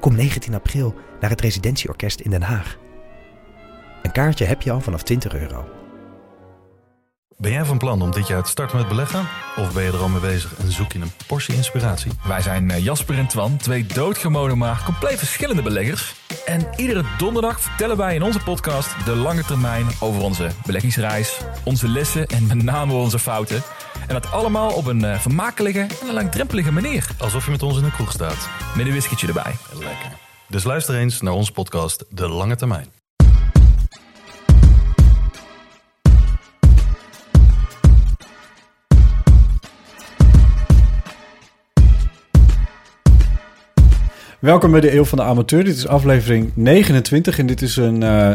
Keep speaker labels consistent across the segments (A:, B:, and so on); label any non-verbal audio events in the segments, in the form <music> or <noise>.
A: Kom 19 april naar het Residentieorkest in Den Haag. Een kaartje heb je al vanaf 20 euro.
B: Ben jij van plan om dit jaar te starten met beleggen? Of ben je er al mee bezig en zoek je een portie inspiratie?
C: Wij zijn eh, Jasper en Twan, twee doodgemonen maar compleet verschillende beleggers. En iedere donderdag vertellen wij in onze podcast de lange termijn over onze beleggingsreis, onze lessen en met name onze fouten. En dat allemaal op een eh, vermakelijke en een langdrempelige manier.
B: Alsof je met ons in de kroeg staat.
C: Met een whiskietje erbij.
B: Lekker. Dus luister eens naar onze podcast De Lange Termijn.
D: Welkom bij de Eeuw van de Amateur. Dit is aflevering 29 en dit is een eh,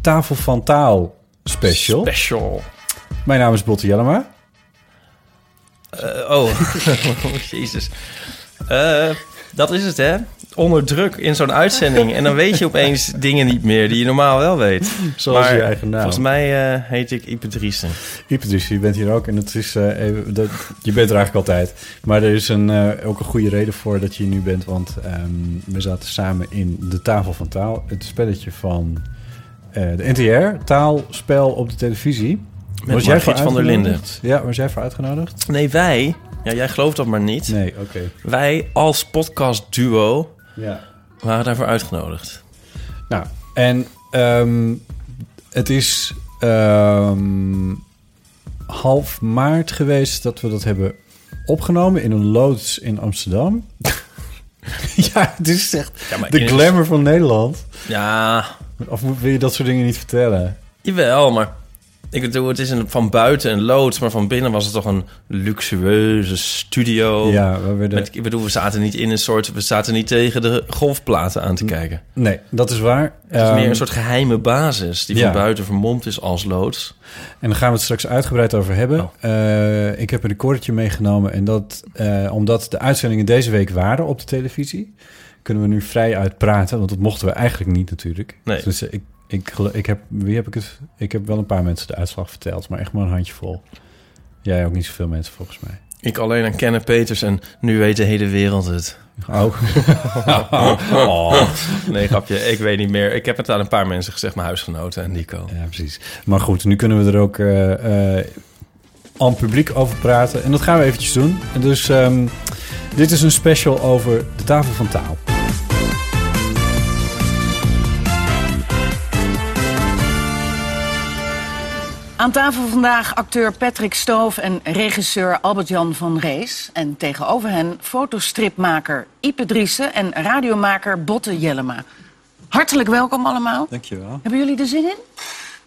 D: Tafel van Taal special.
C: Special.
D: Mijn naam is Botte Jellema.
E: Eh, oh, <laughs> Oh, jezus. Eh, dat is het, hè? Onder druk in zo'n uitzending. En dan weet je opeens dingen niet meer die je normaal wel weet.
D: Zoals
E: Maar
D: je eigen naam.
E: Volgens mij eh, heet ik Ipe Driessen.
D: Iep, dus je bent hier ook en het is, eh, even, dat, je bent er eigenlijk altijd. Maar er is een, eh, ook een goede reden voor dat je hier nu bent, want ehm, we zaten samen in de Tafel van Taal. Het spelletje van eh, de NTR, taalspel op de televisie.
E: Met
D: was jij voor
E: Margriet van der Linden.
D: uitgenodigd? Ja, was jij voor uitgenodigd?
E: Nee, wij... Ja, jij gelooft dat maar niet.
D: Nee, oké.
E: Wij als podcastduo
D: Ja.
E: waren daarvoor uitgenodigd.
D: Nou, en ehm, het is ehm, half maart geweest dat we dat hebben opgenomen in een loods in
E: <laughs>
D: Amsterdam. ja, het is echt
E: Ja, maar
D: de
E: in-
D: glamour van Nederland.
E: Ja,
D: Of moet- wil je dat soort dingen niet vertellen?
E: jawel, maar... Ik bedoel, het is een, van buiten een loods, maar van binnen was het toch een luxueuze studio.
D: ja, we werden...
E: Oh. Met, ik bedoel, we zaten niet in een soort... We zaten niet tegen de golfplaten
D: Hm.
E: aan te kijken.
D: Nee, dat is waar.
E: Het is
D: Ehm,
E: meer een soort geheime basis... die
D: ja.
E: van buiten vermomd is als loods.
D: En daar gaan we het straks uitgebreid over hebben. Eh, ik heb een recordje meegenomen. En dat, eh, omdat de uitzendingen deze week waren op de televisie... kunnen we nu vrij uitpraten. Want dat mochten we eigenlijk niet natuurlijk.
E: Nee.
D: Dus eh, ik, ik, gel- ik, heb, wie heb ik, het, ik heb wel een paar mensen de uitslag verteld. Maar echt maar een handjevol. Jij ook niet zoveel mensen volgens mij.
E: Ik alleen aan Kenneth Peters en nu weet de hele wereld het.
D: Oh. <laughs>
E: Nee, grapje, <laughs> ik weet niet meer. Ik heb het aan een paar mensen gezegd, mijn huisgenoten en Nico.
D: Ja, precies. Maar goed, nu kunnen we er ook eh, eh, aan publiek over praten. En dat gaan we eventjes doen. En dus ehm, dit is een special over de tafel van taal.
F: Aan tafel vandaag acteur Patrick Stoof en regisseur Albert-Jan van Rees. En tegenover hen fotostripmaker Ipe Driessen en radiomaker Botte Jellema. Hartelijk welkom allemaal.
D: Dankjewel.
F: Hebben jullie er zin in?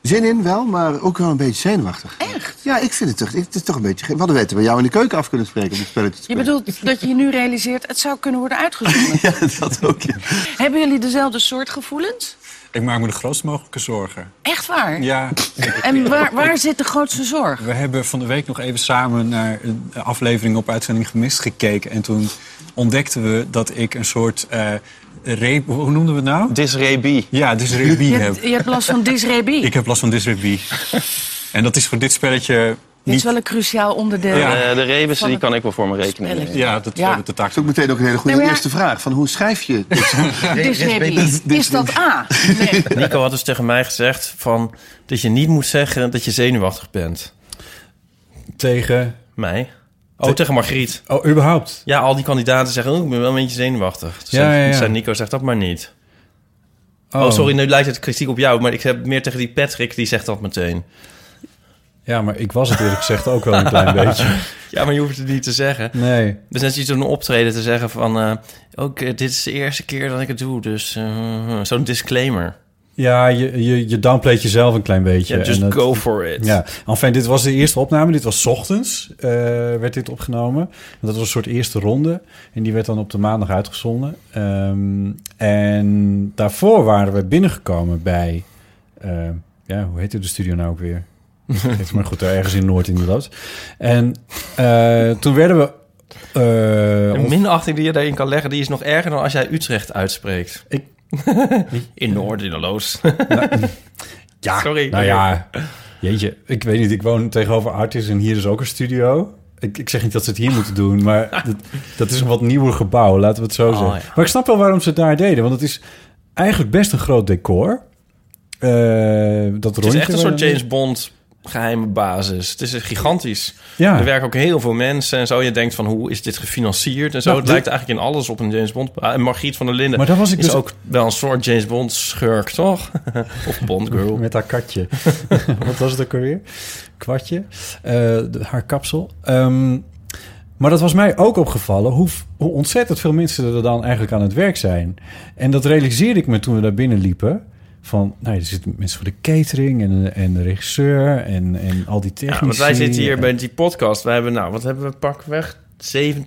G: Zin in wel, maar ook wel een beetje zenuwachtig.
F: Echt?
G: Ja, ik vind het toch, het is toch een beetje... ge- We hadden weten bij jou in de keuken af kunnen spreken om het spelletje te
F: Je
G: spelen.
F: bedoelt dat je je nu realiseert, het zou kunnen worden
H: <laughs>
F: uitgezonden.
G: Ja, dat ook. ja.
F: Hebben jullie dezelfde soort gevoelens?
H: Ik maak me de grootst mogelijke zorgen.
F: Echt waar?
H: Ja,
F: En waar, waar zit de grootste zorg?
H: we hebben van de week nog even samen naar een aflevering op Uitzending Gemist gekeken. En toen ontdekten we dat ik een soort eh re- Hoe noemden we het nou?
E: Disrebi.
H: Ja, dysrebie
F: Je
H: heb.
F: hebt, je hebt last van dysrebie.
H: Ik heb last van dysrebie. En dat is voor dit spelletje
F: Dit is
H: niet...
F: wel een cruciaal onderdeel.
H: Ja.
E: Eh, de rebussen,
F: die
E: kan ik wel voor me rekenen.
F: Spelletje.
H: Ja, dat
F: Ja.
H: hebben we de taak.
G: Dat is ook meteen ook een hele goede
F: Nee, maar ja-
G: eerste vraag. Van hoe schrijf je dit?
F: Dysrebie. Is dat A? Nee.
E: <laughs> Nico had dus tegen mij gezegd van, dat je niet moet zeggen dat je zenuwachtig bent.
D: Tegen...
E: Mij? Oh, tegen Margriet.
D: Oh, überhaupt.
E: Ja, al die kandidaten zeggen, oh, ik ben wel een beetje zenuwachtig. Dus
D: Ja, ja, ja.
E: zei Nico, zeg dat maar niet. Oh. sorry, nu lijkt het kritiek op jou, maar ik heb meer tegen die Patrick, die zegt dat meteen.
D: Ja, maar ik was het eerlijk gezegd ook wel een
E: <laughs>
D: klein beetje.
E: Ja, maar je hoeft het niet te zeggen.
D: Nee.
E: Dus net zoiets op een optreden te zeggen van, eh, ook eh, dit is de eerste keer dat ik het doe, dus eh, zo'n disclaimer.
D: Ja, je, je, je downplayt jezelf een klein beetje.
E: Ja, just
D: en dat-
E: go for it.
D: Ja, enfin, dit was de eerste opname. Dit was 's ochtends, eh, werd dit opgenomen. Dat was een soort eerste ronde. En die werd dan op de maandag uitgezonden. Ehm, en daarvoor waren we binnengekomen bij... eh, ja, hoe heette de studio nou ook
E: <laughs>
D: weer? Geeft maar goed, daar ergens in Noord inderdaad. En eh, toen werden we... eh,
E: De
D: ont-
E: minachting die je daarin kan leggen, die is nog erger dan als jij Utrecht uitspreekt.
D: Ik-
E: <laughs> in Noord, in de Loos.
D: Ja,
E: Sorry.
D: nou ja, jeetje, ik weet niet. Ik woon tegenover Artis en hier is ook een studio. Ik, ik zeg niet dat ze het hier moeten doen, maar
E: <laughs>
D: dat, dat is een wat nieuwer gebouw, laten we het zo
E: Oh,
D: zeggen.
E: ja.
D: Maar ik snap wel waarom ze het daar deden, want het is eigenlijk best een groot decor. Eh, dat
E: Het is
D: rondje
E: echt een
D: waar
E: soort
D: dan-
E: James Bond geheime basis. Het is gigantisch.
D: Ja.
E: Er werken ook heel veel mensen en zo. Je denkt van, hoe is dit gefinancierd en zo.
D: Nou,
E: het
D: dit-
E: lijkt eigenlijk in alles op een James Bond. Ah, En Margriet van der Linden
D: Maar dat was ik
E: is
D: dus
E: ook wel een soort James Bond schurk, toch? <laughs> of Bond girl.
D: Met haar
E: <laughs>
D: katje. Wat was het ook alweer? Kwartje. Eh, de- haar kapsel. Ehm, maar dat was mij ook opgevallen hoe, f- hoe ontzettend veel mensen er dan eigenlijk aan het werk zijn. En dat realiseerde ik me toen we daar binnen liepen. Van, nou, er zitten mensen voor de catering en, en de regisseur en, en al die
E: Ja,
D: technici.
E: want wij zitten hier
D: En-
E: bij die podcast. Wij hebben, nou, wat hebben we pakweg? 17,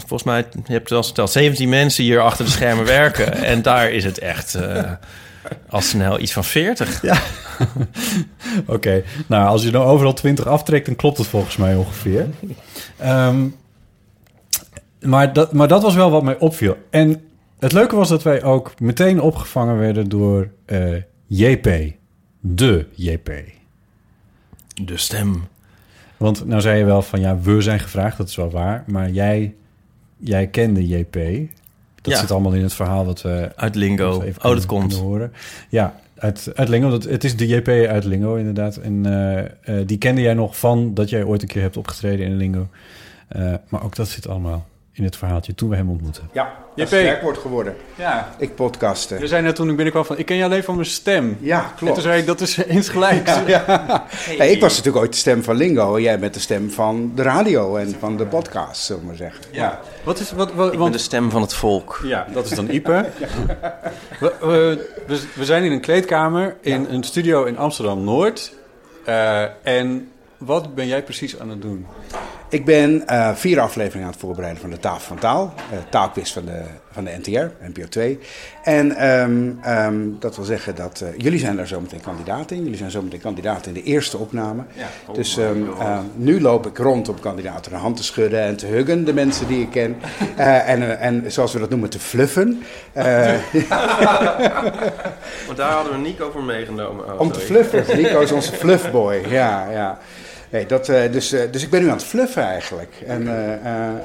E: volgens mij, je hebt het al verteld, 17 mensen hier achter de schermen <laughs> werken. En daar is het echt eh, al snel iets van 40.
D: Oké, nou als je nou overal 20 aftrekt, dan klopt het volgens mij ongeveer. Ehm, maar, dat, maar dat was wel wat mij opviel. En het leuke was dat wij ook meteen opgevangen werden door eh, JP. De JP.
E: De stem.
D: Want nou zei je wel van ja, we zijn gevraagd, dat is wel waar. Maar jij, jij kende JP. Dat
E: Ja.
D: zit allemaal in het verhaal wat we
E: Uit Lingo.
D: Even
E: Oh,
D: kunnen-
E: dat komt.
D: kunnen horen. Ja, uit, uit Lingo. Dat, het is de JP uit Lingo, inderdaad. En eh, eh, die kende jij nog van dat jij ooit een keer hebt opgetreden in Lingo. Eh, maar ook dat zit allemaal in het verhaaltje toen we hem ontmoetten.
I: Ja, Dus-
H: JP.
I: dat is sterk wordt geworden.
H: Ja,
I: Ik podcasten.
H: je zei net toen ik binnenkwam van... ik ken je alleen van mijn stem.
I: ja,
H: En toen
I: klopt.
H: zei ik, dat is <laughs> eens gelijk.
I: Hey, ik was natuurlijk ooit de stem van Lingo en jij bent de stem van de radio en van de podcast, zullen we maar zeggen.
H: Ja. Wat is, wat, wat,
E: Ik ben
H: want
D: dus-
E: de stem van het volk.
H: Ja, dat is dan
D: <laughs>
H: Ipe. We, eh, we, we zijn in een kleedkamer in een studio in Amsterdam-Noord. Eh, en wat ben jij precies aan het doen?
I: Ik ben eh, vier afleveringen aan het voorbereiden van de Tafel van Taal. eh taalquiz van de, van de NTR, NPO 2. En ehm, ehm, dat wil zeggen dat eh, jullie zijn daar zometeen kandidaat in. Jullie zijn zometeen kandidaat in de eerste opname. dus ehm, ehm, nu loop ik rond om kandidaten de hand te schudden en te huggen, de mensen die ik ken. Eh, en, eh, en zoals we dat noemen, te fluffen. Eh,
E: Maar daar hadden we Nico voor meegenomen. oh,
I: Om te fluffen. <laughs> Nico is onze fluffboy. Ja, ja. Nee, dat, eh, dus, eh, dus ik ben nu aan het fluffen eigenlijk. En eh, eh, eh,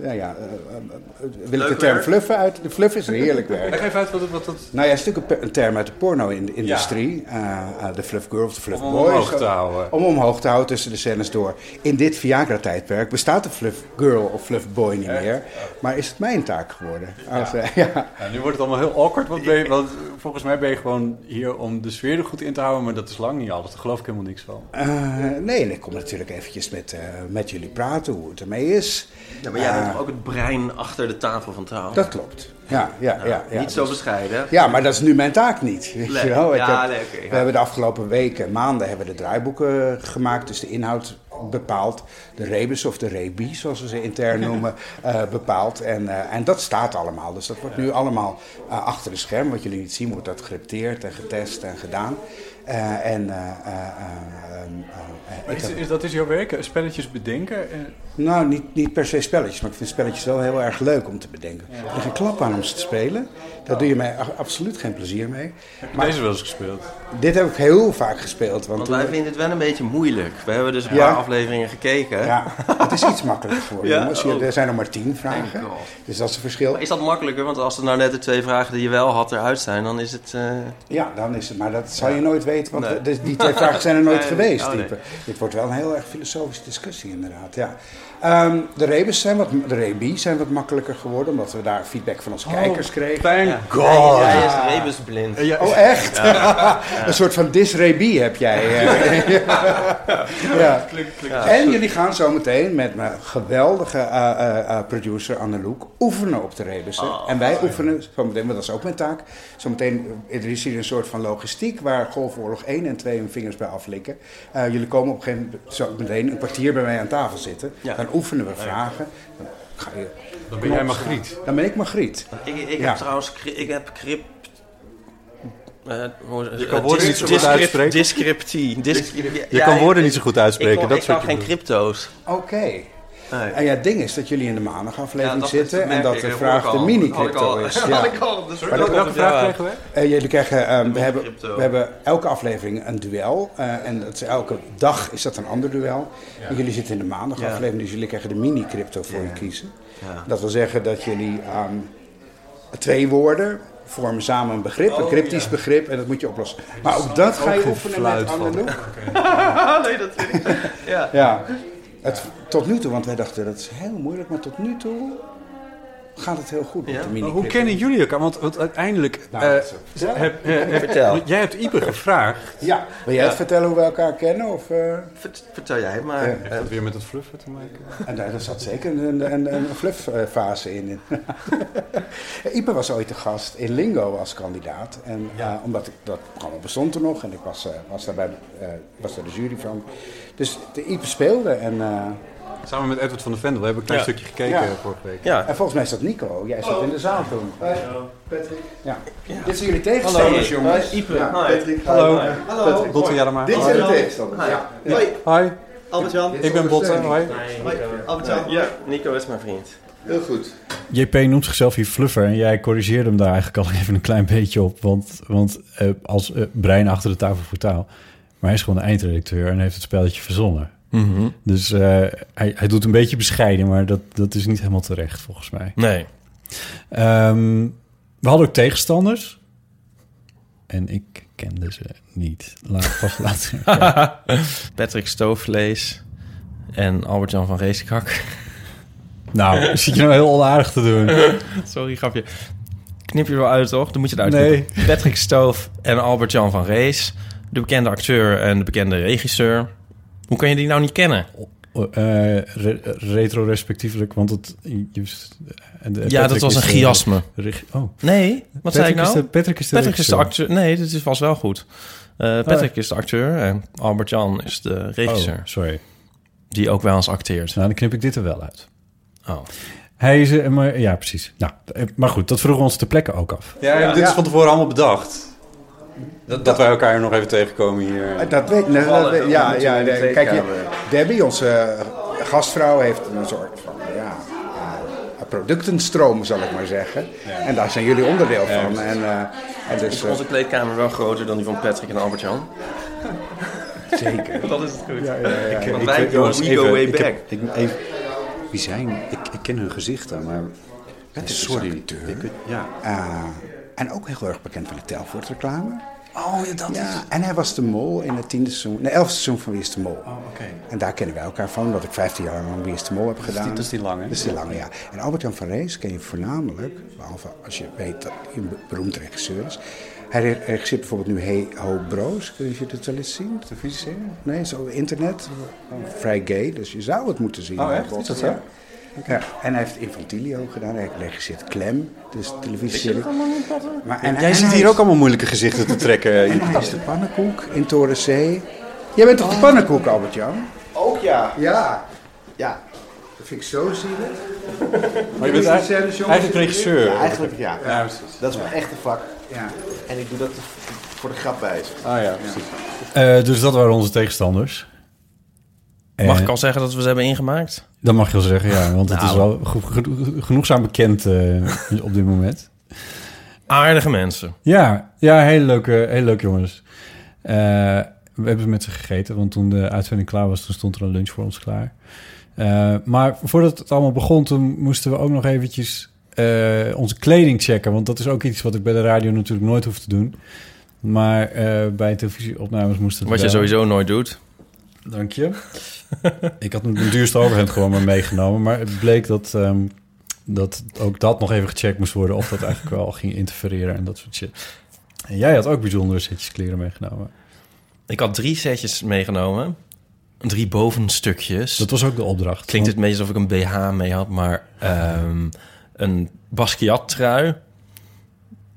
I: nou ja, eh, eh, eh, wil ik de
E: Leuk
I: term
E: werk.
I: fluffen uit? De fluff is een heerlijk
H: Leg
I: werk.
H: even uit wat, het- wat dat...
I: Nou ja, het is natuurlijk een, pe- een term uit de porno-industrie. Eh, eh, de fluff girl of de fluff
H: Om
I: boy.
H: omhoog
I: Zo-
H: te houden.
I: Om omhoog te houden tussen de scènes door. In dit Viagra-tijdperk bestaat de fluff girl of fluff boy niet meer. Maar is het mijn taak geworden? Als, eh, <laughs> ja.
H: Ja, nu wordt het allemaal heel awkward, want, ben je- want volgens mij ben je gewoon hier om de sfeer er goed in te houden. Maar dat is lang niet alles, daar geloof ik helemaal niks van.
I: Eh, nee, en ik kom natuurlijk eventjes met, eh, met jullie praten hoe het ermee is.
E: maar jij bent ook het brein achter de tafel van taal.
I: Dat klopt. Ja, ja, ja. ja,
E: Nou, Niet zo bescheiden.
I: Ja, maar dat is nu mijn taak niet. Weet
E: Nee.
I: je wel? Ik
E: Ja,
I: heb-
E: nee, oké, ja.
I: We hebben de afgelopen weken, maanden, hebben we de draaiboeken gemaakt. Dus de inhoud bepaald. De rebus of de rebi, zoals we
E: <laughs>
I: ze intern noemen, eh, bepaald. En, eh, en dat staat allemaal. Dus dat wordt nu allemaal eh, achter de scherm. Wat jullie niet zien, wordt dat gerepteerd en getest en gedaan. Eh, en eh, eh, eh, ehm, eh,
H: Maar
I: ik
H: is,
I: heb-
H: is, dat is jouw werk, eh, spelletjes bedenken? eh,
I: nou, niet, niet per se spelletjes, maar ik vind spelletjes wel heel erg leuk om te bedenken. Er is een klap aan om ze te spelen. Daar doe je mij a- absoluut geen plezier mee. Maar
H: Deze wel eens gespeeld.
I: dit heb ik heel vaak gespeeld. Want
E: Want
I: toen-
E: wij vinden het wel een beetje moeilijk. We hebben dus een
I: Ja.
E: paar afleveringen gekeken.
I: ja, het is iets makkelijker
E: <laughs>
I: voor
E: Ja,
I: jongens. Je-
E: oh.
I: Er zijn nog maar tien vragen.
E: Thank God.
I: Dus dat is het verschil.
E: Maar Is dat makkelijker? Want als er nou net de twee vragen die je wel had eruit zijn, dan is het... eh,
I: Ja, dan is het. Maar dat zal je nooit weet, want
E: Nee.
I: we- dus die twee vragen zijn er nooit
E: <laughs> Nee,
I: geweest.
E: oh, nee.
I: type. Dit wordt wel een heel erg filosofische discussie inderdaad, ja. Ehm, de rebus zijn wat, de rebi zijn wat makkelijker geworden, omdat we daar feedback
E: Oh,
I: van onze kijkers kregen.
G: Thank
B: Oh,
E: God. Hij is rebusblind.
I: Oh, echt? <laughs> een soort van disrebi heb
D: <laughs>
I: jij. eh. ja. En jullie gaan zo meteen met mijn geweldige eh, eh, eh, producer Anneloek oefenen op de rebussen.
D: Oh,
I: en wij oefenen zo meteen, want dat is ook mijn taak. Zometeen eh, er is hier een soort van logistiek waar Golfoorlog 1 en 2 hun vingers bij aflikken. Eh, jullie komen op een gegeven moment zo meteen een kwartier bij mij aan tafel zitten.
E: Ja.
I: Dan oefenen we vragen. Dan, ga je,
D: Dan ben jij Margriet.
I: dan ben ik Margriet.
E: Ik, ik
I: Ja.
E: heb trouwens, cri- ik heb crypt... eh, hoe- eh,
B: kan woorden
E: dis-
B: niet zo goed
E: discrypt-
B: uitspreken.
E: Discryptie. Dis-
B: Je
E: ja,
B: kan
E: ik-
B: woorden niet zo goed
E: Ik
B: uitspreken.
E: kan,
B: dat
E: ik
B: soort
E: kan geen crypto's.
I: Oké.
E: Nee.
I: En ja, het ding is dat jullie in de maandagaflevering
E: Ja, dat-
I: zitten
E: dat
I: en
E: merk
I: dat
E: ik,
I: de
E: dat
I: vraag
E: hoor
I: de
E: ik al.
I: mini-crypto
E: <laughs> Had ik al.
I: is. Ja.
E: Oh, dat is
I: Maar dat-
E: welke vraag
D: krijgen we?
I: Eh, jullie krijgen, ehm, we, hebben,
E: crypto.
I: we hebben elke aflevering een duel. eh, en dat is elke dag is dat een ander duel. En jullie zitten in de maandagaflevering, dus jullie krijgen de mini-crypto voor je kiezen.
E: Ja.
I: Dat wil zeggen dat jullie ehm, twee woorden vormen samen een begrip,
E: Oh,
I: een cryptisch begrip. En dat moet je oplossen. Maar ook dat ga je oefenen met Anneloek. <laughs>
E: <laughs> nee, dat vind ik. Ja.
I: Ja, het, tot nu toe, want wij dachten dat is heel moeilijk, maar tot nu toe gaat het heel goed. Met
E: Ja?
I: de
D: Maar
I: mini
D: hoe kennen jullie elkaar? Want, want uiteindelijk...
I: Nou,
D: eh,
I: dat is ook- Ja?
D: heb- eh, heb-
E: Vertel.
D: jij hebt Ipe gevraagd.
I: Ja, wil jij het
E: Ja.
I: vertellen hoe we elkaar kennen? Of, eh?
E: Vert- Vertel jij maar.
I: Ja.
E: Eh,
D: Dat weer met het fluffen te maken.
I: En daar daar zat zeker een, een, een flufffase in. <laughs> Ipe was ooit de gast in Lingo als kandidaat. En, eh, omdat ik, dat programma bestond er nog en ik was, eh, was, daar, bij, de- eh, was daar de jury van. Dus de Ipe speelde en, eh,
D: Samen met Edward van der Vendel. We hebben een klein
E: Ja.
D: stukje gekeken
I: Ja.
D: eh, vorige week.
E: ja.
I: en volgens mij zat Nico. Jij zat in de zaal toen. Patrick. Ja.
E: Ja.
I: Dit zijn jullie tegenstanders,
E: Hallo.
I: jongens.
E: Hi, Ipe.
I: Ja,
E: Hi.
I: Patrick.
D: Hallo.
I: Hi.
D: Hallo. Botte Jellema.
E: Oh,
I: Dit zijn de
E: Ah,
I: tegenstanders. Ja.
J: Hoi,
D: Hoi,
J: Albert-Jan.
D: ik ben Botte.
I: ondersteuning.
D: Hoi.
J: Hoi, Albert-Jan.
E: Ja, Nico is mijn vriend.
J: Heel goed.
D: JP noemt zichzelf hier fluffer en jij corrigeerde hem daar eigenlijk al <laughs> even een klein beetje op. Want, want eh, als eh, brein achter de tafel voor taal. Maar hij is gewoon de eindredacteur en heeft het spelletje verzonnen. Dus eh, hij, hij doet een beetje bescheiden, maar dat, dat is niet helemaal terecht volgens mij.
B: Nee.
D: Ehm, we hadden ook tegenstanders. En ik kende ze niet. Laat pas laten.
E: <laughs> Patrick Stoofvlees en Albert-Jan van Reeskak. <laughs>
D: nou, zit je nou heel onaardig te doen.
E: Sorry, grapje. Knip je er wel uit, toch? Dan moet je het
D: Nee.
E: uitknippen. Patrick Stoof en Albert-Jan van Rees. De bekende acteur en de bekende regisseur. Hoe kan je die nou niet kennen?
D: Eh, re- retro respectievelijk, want het... je- je- de-
E: ja, dat
D: Patrick
E: was
D: is
E: een
D: de-
E: chiasme.
D: reg- Oh,
E: Nee, wat zei ik
D: Patrick is
E: nou?
D: de- Patrick is de
E: Patrick is de
D: regisseur.
E: acteur. Nee, dat is vast wel goed. Eh, Patrick is de acteur en Albert-Jan is de regisseur.
D: Oh, sorry.
E: Die ook wel eens acteert.
D: Nou, dan knip ik dit er wel uit.
E: Oh.
D: Hij is... eh, maar, ja, precies. Nou, eh, maar goed, dat vroegen we ons te plekken ook af.
H: Ja, dit is van tevoren allemaal bedacht. Dat, wij elkaar nog even tegenkomen hier.
I: Dat weet nee, dat weet- ja, ja,
J: in de
I: nee, kijk,
J: kleedkamer.
I: je- Debbie, onze eh, gastvrouw, heeft een soort van, ja, eh, productenstroom, zal ik maar zeggen. En daar zijn jullie onderdeel van. en, eh, en dus, eh,
E: Onze kleedkamer wel groter dan die van Patrick en
D: <laughs>
E: Albert-Jan.
I: zeker.
E: Dat is het goed.
H: Want
E: wij go- we go way back.
H: ik, even, wie zijn? Ik, ik ken hun gezichten, maar...
I: Het is
H: Sorry.
I: een acteur.
H: Ik, ja.
I: Eh, en ook heel erg bekend van de Telvoort-reclame.
H: Oh, ja, dat
I: Ja, en hij was de mol in het tiende seizoen, nee, elfde seizoen van Wie is de Mol.
H: Oh, oké.
I: En daar kennen wij elkaar van, omdat ik 15 jaar lang Wie is de Mol heb gedaan.
H: dat is die lange, hè?
I: Dat is die lange, ja. En Albert-Jan van Rees ken je voornamelijk, behalve als je weet dat hij een be- beroemd regisseur is. Hij re- regisseert bijvoorbeeld nu Hey Ho Bro's. Kun je dat wel eens zien? Televisie? Nee, zo op internet. Vrij gay, dus je zou het moeten zien.
H: Oh, echt? Is dat zo?
I: Ja. Ja, en hij heeft Infantilio gedaan. Hij regisseert Clem, dus televisieserie. Maar- en-
H: Jij
I: en
H: zit
I: hij
H: hier
I: is-
H: ook allemaal moeilijke gezichten te trekken.
I: en hij is de pannenkoek in Toren C. Jij bent toch de pannenkoek, Albert-Jan?
J: Oh. Ook ja.
I: Ja. Ja. Dat vind ik zo zielig.
H: Maar je bent eigenlijk, eigenlijk regisseur.
J: Ja, eigenlijk ja.
H: Ja, precies.
J: Dat is mijn echte vak.
I: Ja.
J: En ik doe dat voor de grap bij.
H: Ah ja, precies.
D: Eh, dus dat waren onze tegenstanders.
E: Mag
D: En-
E: ik al Nou. zeggen dat we ze hebben ingemaakt?
D: Dat mag je wel zeggen, ja. Want het is wel geno- geno- genoegzaam bekend eh, op dit moment.
E: Aardige mensen.
D: Ja, ja hele, leuke, hele leuk jongens. Eh, we hebben met ze gegeten, want toen de uitzending klaar was... toen stond er een lunch voor ons klaar. Eh, maar voordat het allemaal begon, toen moesten we ook nog eventjes eh, onze kleding checken. Want dat is ook iets wat ik bij de radio natuurlijk nooit hoef te doen. Maar eh, bij televisieopnames moest het
E: Wat je
D: wel.
E: sowieso nooit doet.
D: Dank je. ik had mijn duurste overhemd gewoon maar meegenomen. Maar het bleek dat, ehm, dat ook dat nog even gecheckt moest worden... of dat eigenlijk wel ging interfereren en dat soort shit. En jij had ook bijzondere setjes kleren meegenomen.
E: Ik had drie setjes meegenomen. Drie bovenstukjes.
D: Dat was ook de opdracht.
E: Klinkt het meest alsof ik een BH mee had, maar ehm, een Basquiat trui.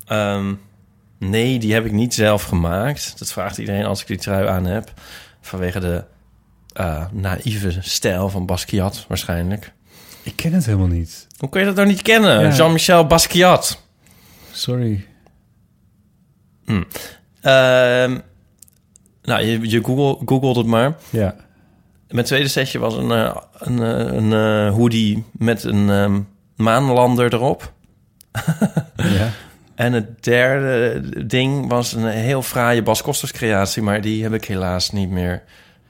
E: Ehm, nee, die heb ik niet zelf gemaakt. Dat vraagt iedereen als ik die trui aan heb. Vanwege de eh, naïeve stijl van Basquiat waarschijnlijk.
D: Ik ken het helemaal niet.
E: Hoe kun je dat nou niet kennen?
D: Ja.
E: Jean-Michel Basquiat.
D: Sorry.
E: Ehm, nou, je, je Google, googelt het maar.
D: Ja.
E: Mijn tweede setje was een, eh, een, eh, een eh, hoodie met een ehm, maanlander erop.
D: ja.
E: En het derde ding was een heel fraaie Bas Kosters creatie... maar die heb ik helaas niet meer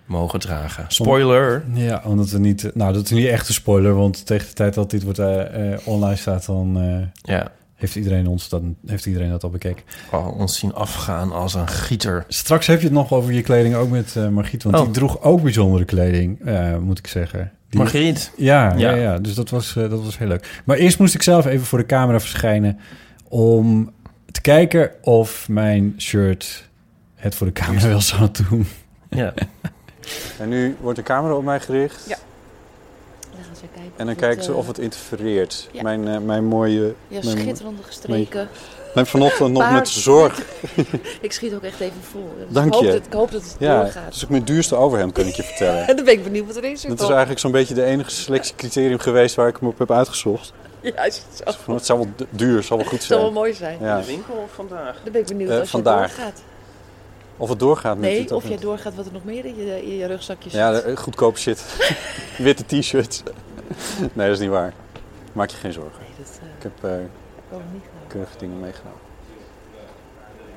E: mogen dragen. Spoiler.
D: Ja, omdat we niet... Nou, dat is niet echt een spoiler, want tegen de tijd dat dit wordt, eh, eh, online staat... dan eh,
E: Ja,
D: heeft, iedereen ons dat, heeft iedereen dat al bekeken.
E: al ons zien afgaan als een gieter.
D: Straks heb je het nog over je kleding ook met eh Margriet... want
E: Oh.
D: die droeg ook bijzondere kleding, eh, moet ik zeggen. Die, <laughs>
E: Margriet.
D: Ja, ja.
E: Ja.
D: ja, dus dat was, eh, dat was heel leuk. Maar eerst moest ik zelf even voor de camera verschijnen... om te kijken of mijn shirt het voor de camera wel zou doen.
E: Ja.
H: En nu wordt de camera op mij gericht.
K: Ja. eh,
H: En dan kijken ze of het interfereert.
K: ja.
H: Mijn, eh, mijn mooie...
K: Ja,
H: mijn,
K: schitterende gestreken.
H: mijn vanochtend nog met
K: Paars.
H: zorg.
K: Ik schiet ook echt even vol. Dus
H: Dank
K: ik hoop
H: je.
K: Dat, ik hoop dat het
H: Ja, het
K: doorgaat.
H: is ook mijn duurste overhemd, kan ik je vertellen.
K: <laughs> En dan ben ik benieuwd wat erin zit.
H: Dat is eigenlijk zo'n beetje de enige selectiecriterium geweest waar ik hem op heb uitgezocht.
K: Juist zo. Het
H: Van, het zou wel du- duur, zou wel goed
K: zal wel
H: zijn.
K: mooi zijn.
H: eh, Ja.
E: winkel vandaag.
K: Dan ben ik benieuwd
H: Eh,
K: als
H: vandaag.
K: je doorgaat.
H: Of het doorgaat met dit
K: Nee,
H: of
K: of jij
H: niet.
K: doorgaat wat er nog meer in je, in je rugzakje zit.
H: Ja, de- eh, goedkoop shit. <laughs> Witte t-shirts. <laughs> nee, dat is niet waar. Maak je geen zorgen.
K: Nee, dat eh,
H: Ik heb eh
K: kan ik niet gaan.
H: keurige dingen meegenomen.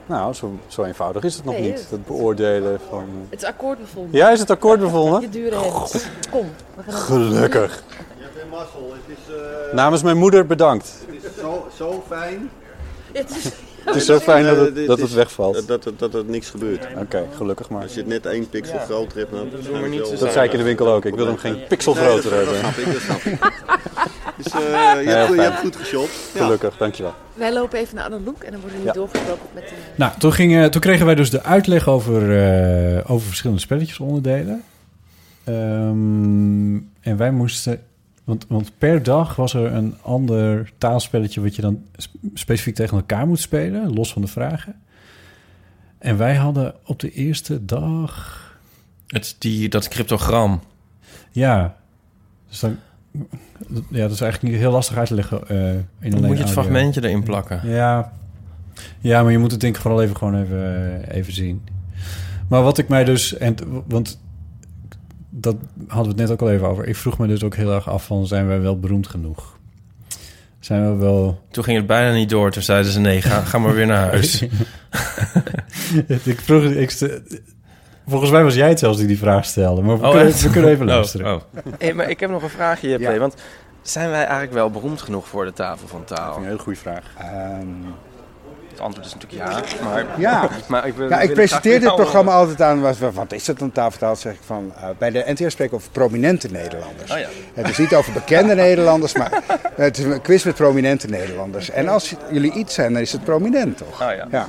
H: Nou, zo, zo eenvoudig is het nog
K: Nee,
H: niet.
K: dat-
H: Dat beoordelen van...
K: Het is akkoord bevonden.
H: Ja, Oh, is het akkoord
K: <laughs> Je
H: bevonden?
K: dure hemd. Kom. We gaan
H: Gelukkig.
J: Je hebt een mazzel. Het is, eh,
H: Namens mijn moeder bedankt.
J: het is zo, zo fijn.
K: Ja, het is-
H: Het is zo fijn dat
J: Eh, dit
H: het, dat het
J: is-
H: wegvalt.
J: Dat,
H: Oké,
J: dat, dat er niks gebeurt.
H: gelukkig maar.
J: Als je het net één pixel groter hebt, dan dat
E: maar niet te
H: Dat zei ik in de winkel ook. Ik wil hem geen pixel groter
J: dat,
H: hebben.
J: snap ik, dat snap ik.
H: <laughs>
J: Dus eh, je, hebt, goed- je hebt goed geshopt. Ja.
H: Gelukkig, dankjewel.
K: Wij lopen even naar Anne Loek en dan worden jullie doorgebroken met de...
D: Nou, toen, ging, eh, toen kregen wij dus de uitleg over, eh, over verschillende spelletjesonderdelen. Ehm, en wij moesten... Want, want per dag was er een ander taalspelletje... wat je dan sp- specifiek tegen elkaar moet spelen, los van de vragen. En wij hadden op de eerste dag...
E: Het, die, dat cryptogram.
D: Ja, dus dan... Ja, dat is eigenlijk niet heel lastig uit te leggen eh, in alleen
E: Dan moet je het
D: audio.
E: fragmentje erin plakken.
D: Ja. ja, maar je moet het denk ik vooral even, gewoon even, eh, even zien. Maar wat ik mij dus... En, want dat hadden we het net ook al even over. Ik vroeg me dus ook heel erg af van... zijn wij wel beroemd genoeg? Zijn we wel...
E: Toen ging het bijna niet door. Toen zeiden ze nee, ga, ga maar weer naar huis.
D: <laughs> ik vroeg... Ik, st- volgens mij was jij het zelfs die die vraag stelde. Maar we,
E: Oh,
D: kunnen,
E: echt?
D: we kunnen even
E: Oh,
D: luisteren.
E: oh. Hey, maar ik heb nog een vraagje, JP.
I: Ja.
E: Want zijn wij eigenlijk wel beroemd genoeg voor de tafel van taal?
H: Een hele goede vraag.
I: Ehm,
E: Het antwoord is natuurlijk ja. Maar,
I: ja.
E: maar ik, wil-
I: Ja,
E: wil
I: ik
E: het
I: presenteer
E: graag
I: dit
E: van jou
I: programma altijd aan. Wat, wat is dat dan tafeltaal? Zeg ik van. eh, bij de NTR spreken we over prominente Nederlanders.
E: Oh ja.
I: Het is niet over
E: <laughs>
I: bekende Nederlanders, maar het is een quiz met prominente Nederlanders. En als jullie iets zijn, dan is het prominent toch?
E: Ah, ja.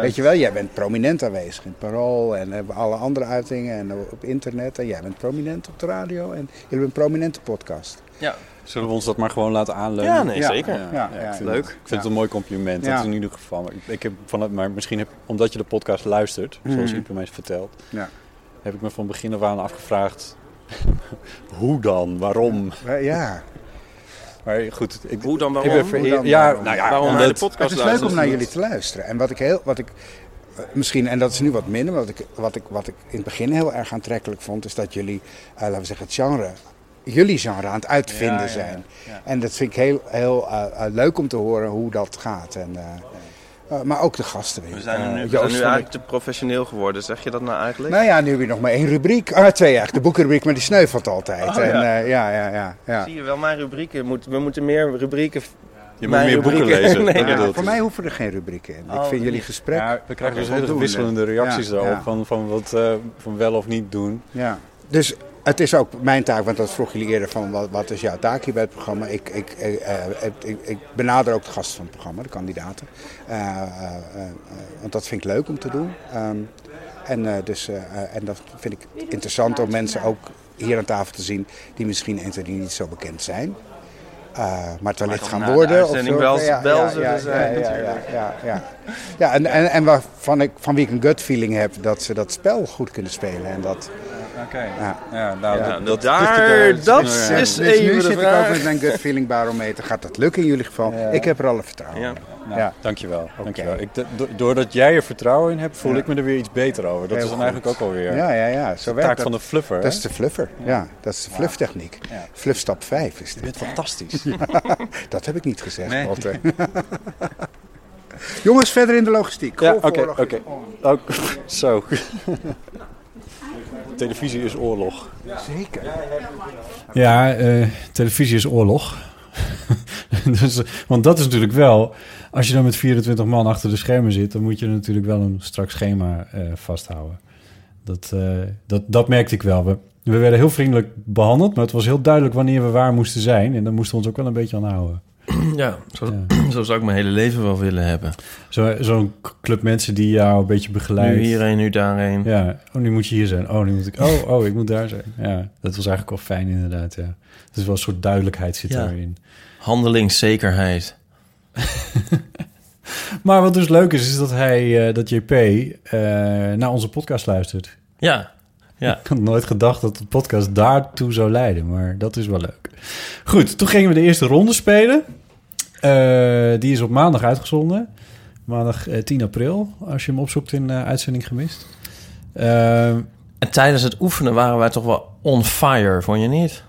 I: Weet je wel, jij bent prominent aanwezig in het Parool en eh, alle andere uitingen en op internet. En jij bent prominent op de radio en jullie hebben een prominente podcast.
E: horen.
H: Zullen we ons dat maar gewoon laten
E: Ja,
H: aanleunen?
E: ja nee,
I: Ja.
E: zeker.
I: Ja, ja,
H: ik vind
E: leuk.
H: het- ik vind het een mooi compliment.
I: Ja.
H: Dat in ieder geval. Maar Ik, ik heb vanuit, maar misschien heb, omdat je de podcast luistert, zoals Ipe mij vertelt,
I: Hmm. Ja.
H: heb ik me van begin af aan afgevraagd. <laughs> hoe dan? Waarom?
I: Eh, ja.
H: Maar goed, ik,
E: Hoe dan
H: ik
E: waarom?
H: ben vereerd.
I: Hoe dan
H: ja,
I: waarom?
H: nou ja,
E: Waarom
H: ja,
E: naar de
H: dat-
E: podcast
I: Het is leuk om
E: luisteren?
I: naar jullie te luisteren. En wat ik heel, wat ik eh, misschien, en dat is nu wat minder, maar wat ik, wat ik, wat ik in het begin heel erg aantrekkelijk vond, is dat jullie, eh, laten we zeggen, het genre, jullie genre aan het uitvinden zijn. En dat vind ik heel, heel eh, eh, leuk om te horen hoe dat gaat. En, eh, eh, maar ook de gasten weer.
E: We zijn er
I: Eh,
E: nu, we
I: Joost
E: zijn nu
I: vond ik-
E: eigenlijk te professioneel geworden. Zeg je dat nou eigenlijk?
I: Nou ja, nu heb je nog maar één rubriek. Ah, twee eigenlijk. De boekenrubriek, maar die
E: Oh,
I: sneuvelt altijd. en, eh, ja, ja, ja, ja.
E: Zie je wel, mijn rubrieken. Moet, we moeten meer rubrieken v-
J: Je moet meer boeken
E: <laughs>
J: lezen.
I: Nee,
J: dat bedoelt
I: voor
J: hij.
I: mij hoeven er geen rubrieken in.
J: Oh,
I: ik vind
J: nee.
I: jullie gesprek.
D: Ja, we krijgen dus hele
I: voldoende.
D: wisselende reacties
I: Ja,
D: daarop.
I: ja.
D: Van, van wat eh, van wel of niet doen.
I: Ja. Dus het is ook mijn taak, want dat vroeg jullie eerder van wat, wat is jouw taak hier bij het programma. Ik, ik, eh, eh, ik, ik benader ook de gasten van het programma, de kandidaten. Eh, eh, eh, eh, want dat vind ik leuk om te doen. Ehm, en, eh, dus, eh, eh, en dat vind ik interessant om mensen ook hier aan tafel te zien die misschien en die niet zo bekend zijn. Eh, maar het wellicht
E: toch
I: gaan
E: na de
I: worden.
E: uitzending
I: zo.
E: wel- wel zullen
I: ja,
E: zijn,
I: ja, ja,
E: natuurlijk.
I: ja, ja. Ja, en, en, en waarvan ik, van wie ik een gut feeling heb dat ze dat spel goed kunnen spelen. En dat,
D: Oké.
I: ja.
D: Ja, nou,
I: Ja,
D: dat-
E: nou,
D: dat
E: daar-
D: ligt er-
E: dat
D: Ja.
E: is-
I: Dus
E: even
I: nu
E: de
I: zit ik
E: vraag.
I: ook met mijn gut feeling barometer. Gaat dat lukken in jullie geval? Ik heb er alle vertrouwen
E: Ja.
I: in.
D: Nou,
I: Ja.
D: Dankjewel. dankjewel. Ik, do- doordat jij er vertrouwen in hebt, voel
I: Ja.
D: ik me er weer iets beter over. Dat
I: Heel
D: is dan
I: goed.
D: eigenlijk ook alweer
I: Ja, ja, ja. Zo
D: de
I: werkt
D: taak
I: dat.
D: van de fluffer.
I: Dat is de fluffer, ja. Dat is de flufftechniek.
D: Ja.
I: Fluff stap 5 is dit.
D: bent fantastisch.
I: Dat heb ik niet gezegd,
D: Nee.
I: Walter. <laughs> Jongens, verder in de logistiek.
D: Ja, oké,
I: Golfoorlog
D: oké.
I: is
D: Ook, zo. Televisie is oorlog.
I: Oh, Zeker.
D: Ja, eh, televisie is oorlog. <laughs> dus, eh, want dat is natuurlijk wel... Als je dan met 24 man achter de schermen zit... dan moet je natuurlijk wel een strak schema eh, vasthouden. Dat, eh, dat, dat merkte ik wel. We, we werden heel vriendelijk behandeld... maar het was heel duidelijk wanneer we waar moesten zijn. En daar moesten we ons ook wel een beetje aan houden.
E: Ja, zo, <clears throat> zo zou ik mijn hele leven wel willen hebben.
D: Zo- Zo'n club mensen die jou een beetje begeleiden.
E: Nu hierheen, nu daarheen.
D: Ja, oh, nu moet je hier zijn. Oh, nu moet ik... Oh, oh, ik moet daar zijn. Ja, dat was eigenlijk wel fijn inderdaad, ja. Dus wel een soort duidelijkheid zit
E: Ja.
D: daarin.
E: Handelingszekerheid.
D: Maar wat dus leuk is, is dat hij, eh, dat JP, eh, naar onze podcast luistert.
E: Ja, ja.
D: Ik had nooit gedacht dat de podcast daartoe zou leiden, maar dat is wel leuk. Goed, toen gingen we de eerste ronde spelen. Eh, die is op maandag uitgezonden. Maandag eh, 10 april, als je hem opzoekt in eh, uitzending gemist. Ehm,
E: En tijdens het oefenen waren wij toch wel on fire, vond je niet?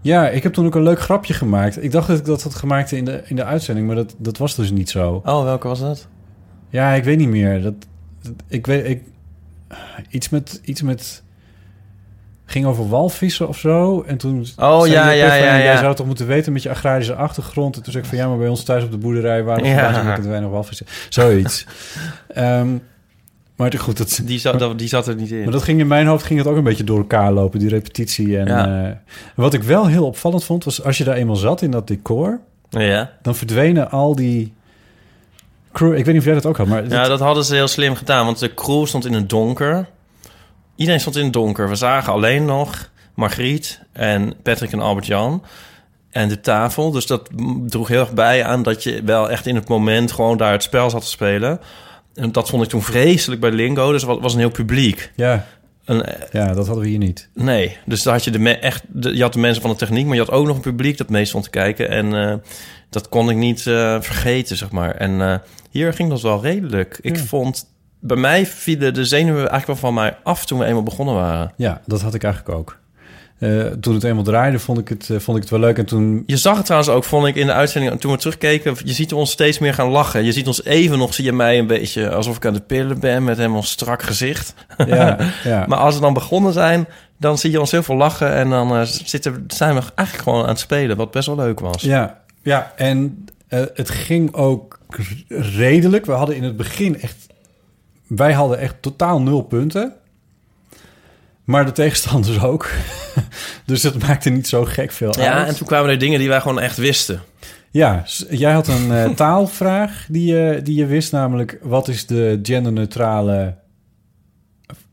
D: Ja, ik heb toen ook een leuk grapje gemaakt. Ik dacht dat ik dat had gemaakt in de, in de uitzending, maar dat, dat was dus niet zo.
E: Oh, welke was dat?
D: Ja, ik weet niet meer. Dat, dat- ik weet, ik, iets met, iets met, ging over walvissen of zo. En toen
E: Oh,
D: zei
E: ja,
D: die
E: ja,
D: Pif van,
E: ja,
D: Jij
E: ja.
D: zou toch moeten weten met je agrarische achtergrond. En toen zei ik van, ja, maar bij ons thuis op de boerderij waren
E: Ja.
D: ja. te weinig walvissen.
E: <laughs>
D: Zoiets. Ehm, maar goed, dat,
E: Die zat, dat- die zat er niet in.
D: maar dat ging in mijn hoofd ging het ook een beetje door elkaar lopen, die repetitie. En
E: Ja.
D: eh, wat ik wel heel opvallend vond, was als je daar eenmaal zat in dat decor,
E: Ja.
D: dan verdwenen al die crew. Ik weet niet of jij dat ook had, maar
E: ja, dat hadden ze heel slim gedaan, want de crew stond in het donker. Iedereen stond in het donker. We zagen alleen nog Margriet en Patrick en Albert-Jan en de tafel. Dus dat mm, droeg heel erg bij aan dat je wel echt in het moment gewoon daar het spel zat te spelen. En dat vond ik toen vreselijk bij Lingo, dus het was een heel publiek.
D: ja,
E: Een, eh,
D: ja, dat hadden we hier niet.
E: Nee, dus daar had je, de me- echt, de- je had de mensen van de techniek, maar je had ook nog een publiek dat mee stond te kijken. En eh, dat kon ik niet eh, vergeten, zeg maar. En eh, hier ging dat wel redelijk. Ik
D: Ja.
E: vond, bij mij vielen de zenuwen eigenlijk wel van mij af toen we eenmaal begonnen waren.
D: Ja, dat had ik eigenlijk ook. Eh, toen het eenmaal draaide, vond ik het, eh, vond ik het wel leuk. En
E: <laughs>
D: toen,
E: Je zag het trouwens ook, vond ik in de uitzending, toen we terugkeken, je ziet ons steeds meer gaan lachen. Je ziet ons even nog, zie je mij een beetje alsof ik aan de pillen ben met helemaal strak gezicht.
D: ja, ja.
E: Maar als we dan begonnen zijn, dan zie je ons heel veel lachen en dan eh, zitten, zijn we eigenlijk gewoon aan het spelen, wat best wel leuk was.
D: Ja, ja en eh, het ging ook r- redelijk. We hadden in het begin echt... Wij hadden echt totaal nul punten. Maar de tegenstanders <laughs> ook. dus dat maakte niet zo gek veel uit.
E: Ja, en toen kwamen er dingen die wij gewoon echt wisten.
D: Ja, s- jij had een eh, <laughs> taalvraag die je, die je wist, namelijk... wat is de genderneutrale...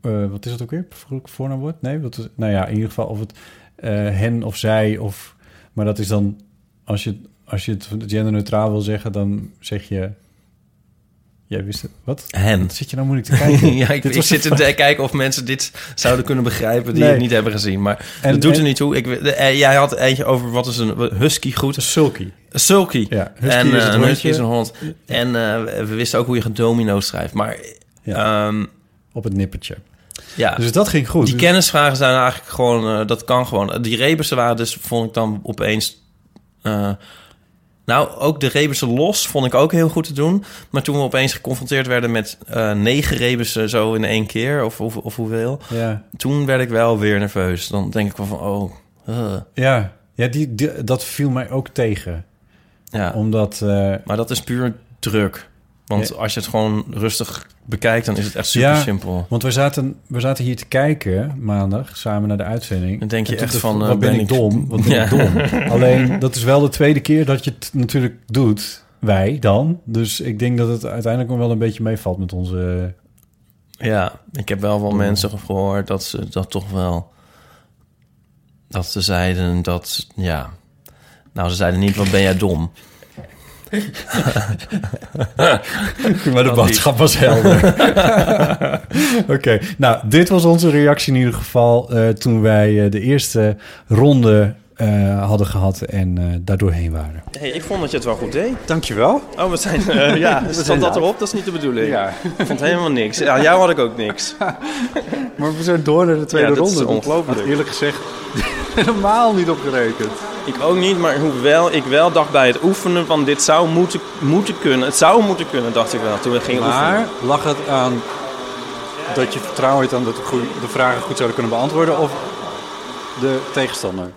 D: eh, wat is dat ook weer? Vo- Voornaamwoord? Nee, wat is, nou ja, in ieder geval of het eh, hen of zij of... Maar dat is dan... Als je, als je het genderneutraal wil zeggen, dan zeg je... Jij wist het. Wat?
E: Hen.
D: Wat Zit je nou moeilijk te kijken?
E: Hm. <laughs> ja, ik,
D: Dit
E: ik
D: was
E: zit
D: de
E: te de- kijken of mensen dit zouden kunnen begrijpen die
D: Nee.
E: het niet hebben gezien. Maar
D: En-
E: dat doet
D: en-
E: er niet toe. Ik, we- de- eh, jij had eentje over wat is een husky goed.
D: Sulky.
E: Een Sulky.
D: Ja, husky
E: en,
D: is
E: eh,
D: het
E: een husky
D: hondje.
E: is een hond. En eh, we wisten ook hoe je gedomino schrijft. Maar
D: Ja.
E: ja,
D: Op het nippertje.
E: ja.
D: Dus dat ging goed.
E: die
D: Dus-
E: kennisvragen zijn eigenlijk gewoon... eh, dat kan gewoon. Die rebussen waren dus, vond ik dan opeens... eh, nou, ook de rebussen los vond ik ook heel goed te doen. Maar toen we opeens geconfronteerd werden met eh, negen rebussen zo in één keer... of, of, of hoeveel...
D: Ja.
E: toen werd ik wel weer nerveus. Dan denk ik wel van, oh... eh.
D: Ja, ja die, die- dat viel mij ook tegen.
E: Ja.
D: Omdat... eh,
E: maar dat is puur druk. Want
D: Ja.
E: als je het gewoon rustig bekijkt, dan is het echt super
D: Ja,
E: simpel.
D: Want we zaten, we zaten hier te kijken maandag samen naar de uitzending.
E: Dan denk je
D: En toen
E: echt
D: dacht ik,
E: van, eh,
D: wat ben,
E: ben
D: ik
E: ik- <laughs>
D: dom? Wat ben
E: Ja.
D: ik dom? Alleen dat is wel de tweede keer dat je het natuurlijk doet. Wij dan. Dus ik denk dat het uiteindelijk nog wel een beetje meevalt met
E: <laughs>
D: onze.
E: Ja, ik heb wel wel mensen gehoord dat ze dat toch wel... Dat ze zeiden dat, ja... Nou, ze zeiden niet, wat ben jij dom.
D: maar de boodschap was helder. <laughs> Oké, nou, dit was onze reactie in ieder geval eh, toen wij eh, de eerste ronde eh, hadden gehad en eh daardoorheen waren.
E: Hey, ik vond dat je het wel goed deed.
I: Dankjewel.
E: Oh, we zijn...
I: <laughs>
E: eh, ja,
I: We
E: zat
I: zijn
E: dat
I: live.
E: erop? Dat is niet de bedoeling.
I: Ja.
E: Ik vond helemaal niks. Aan jou had ik ook
I: <laughs>
E: niks.
I: Maar we zijn door naar de tweede
E: Ja, dat
I: ronde.
E: is ongelooflijk.
I: had eerlijk gezegd <laughs> helemaal niet opgerekend.
E: Ik ook niet, maar hoewel ik wel dacht bij het oefenen van dit zou moeten, moeten kunnen. Het zou moeten kunnen, dacht ik wel, toen we gingen
H: Maar
E: oefenen.
H: lag het aan dat je vertrouwen hebt aan dat we goe- de vragen goed zouden kunnen beantwoorden of de tegenstander?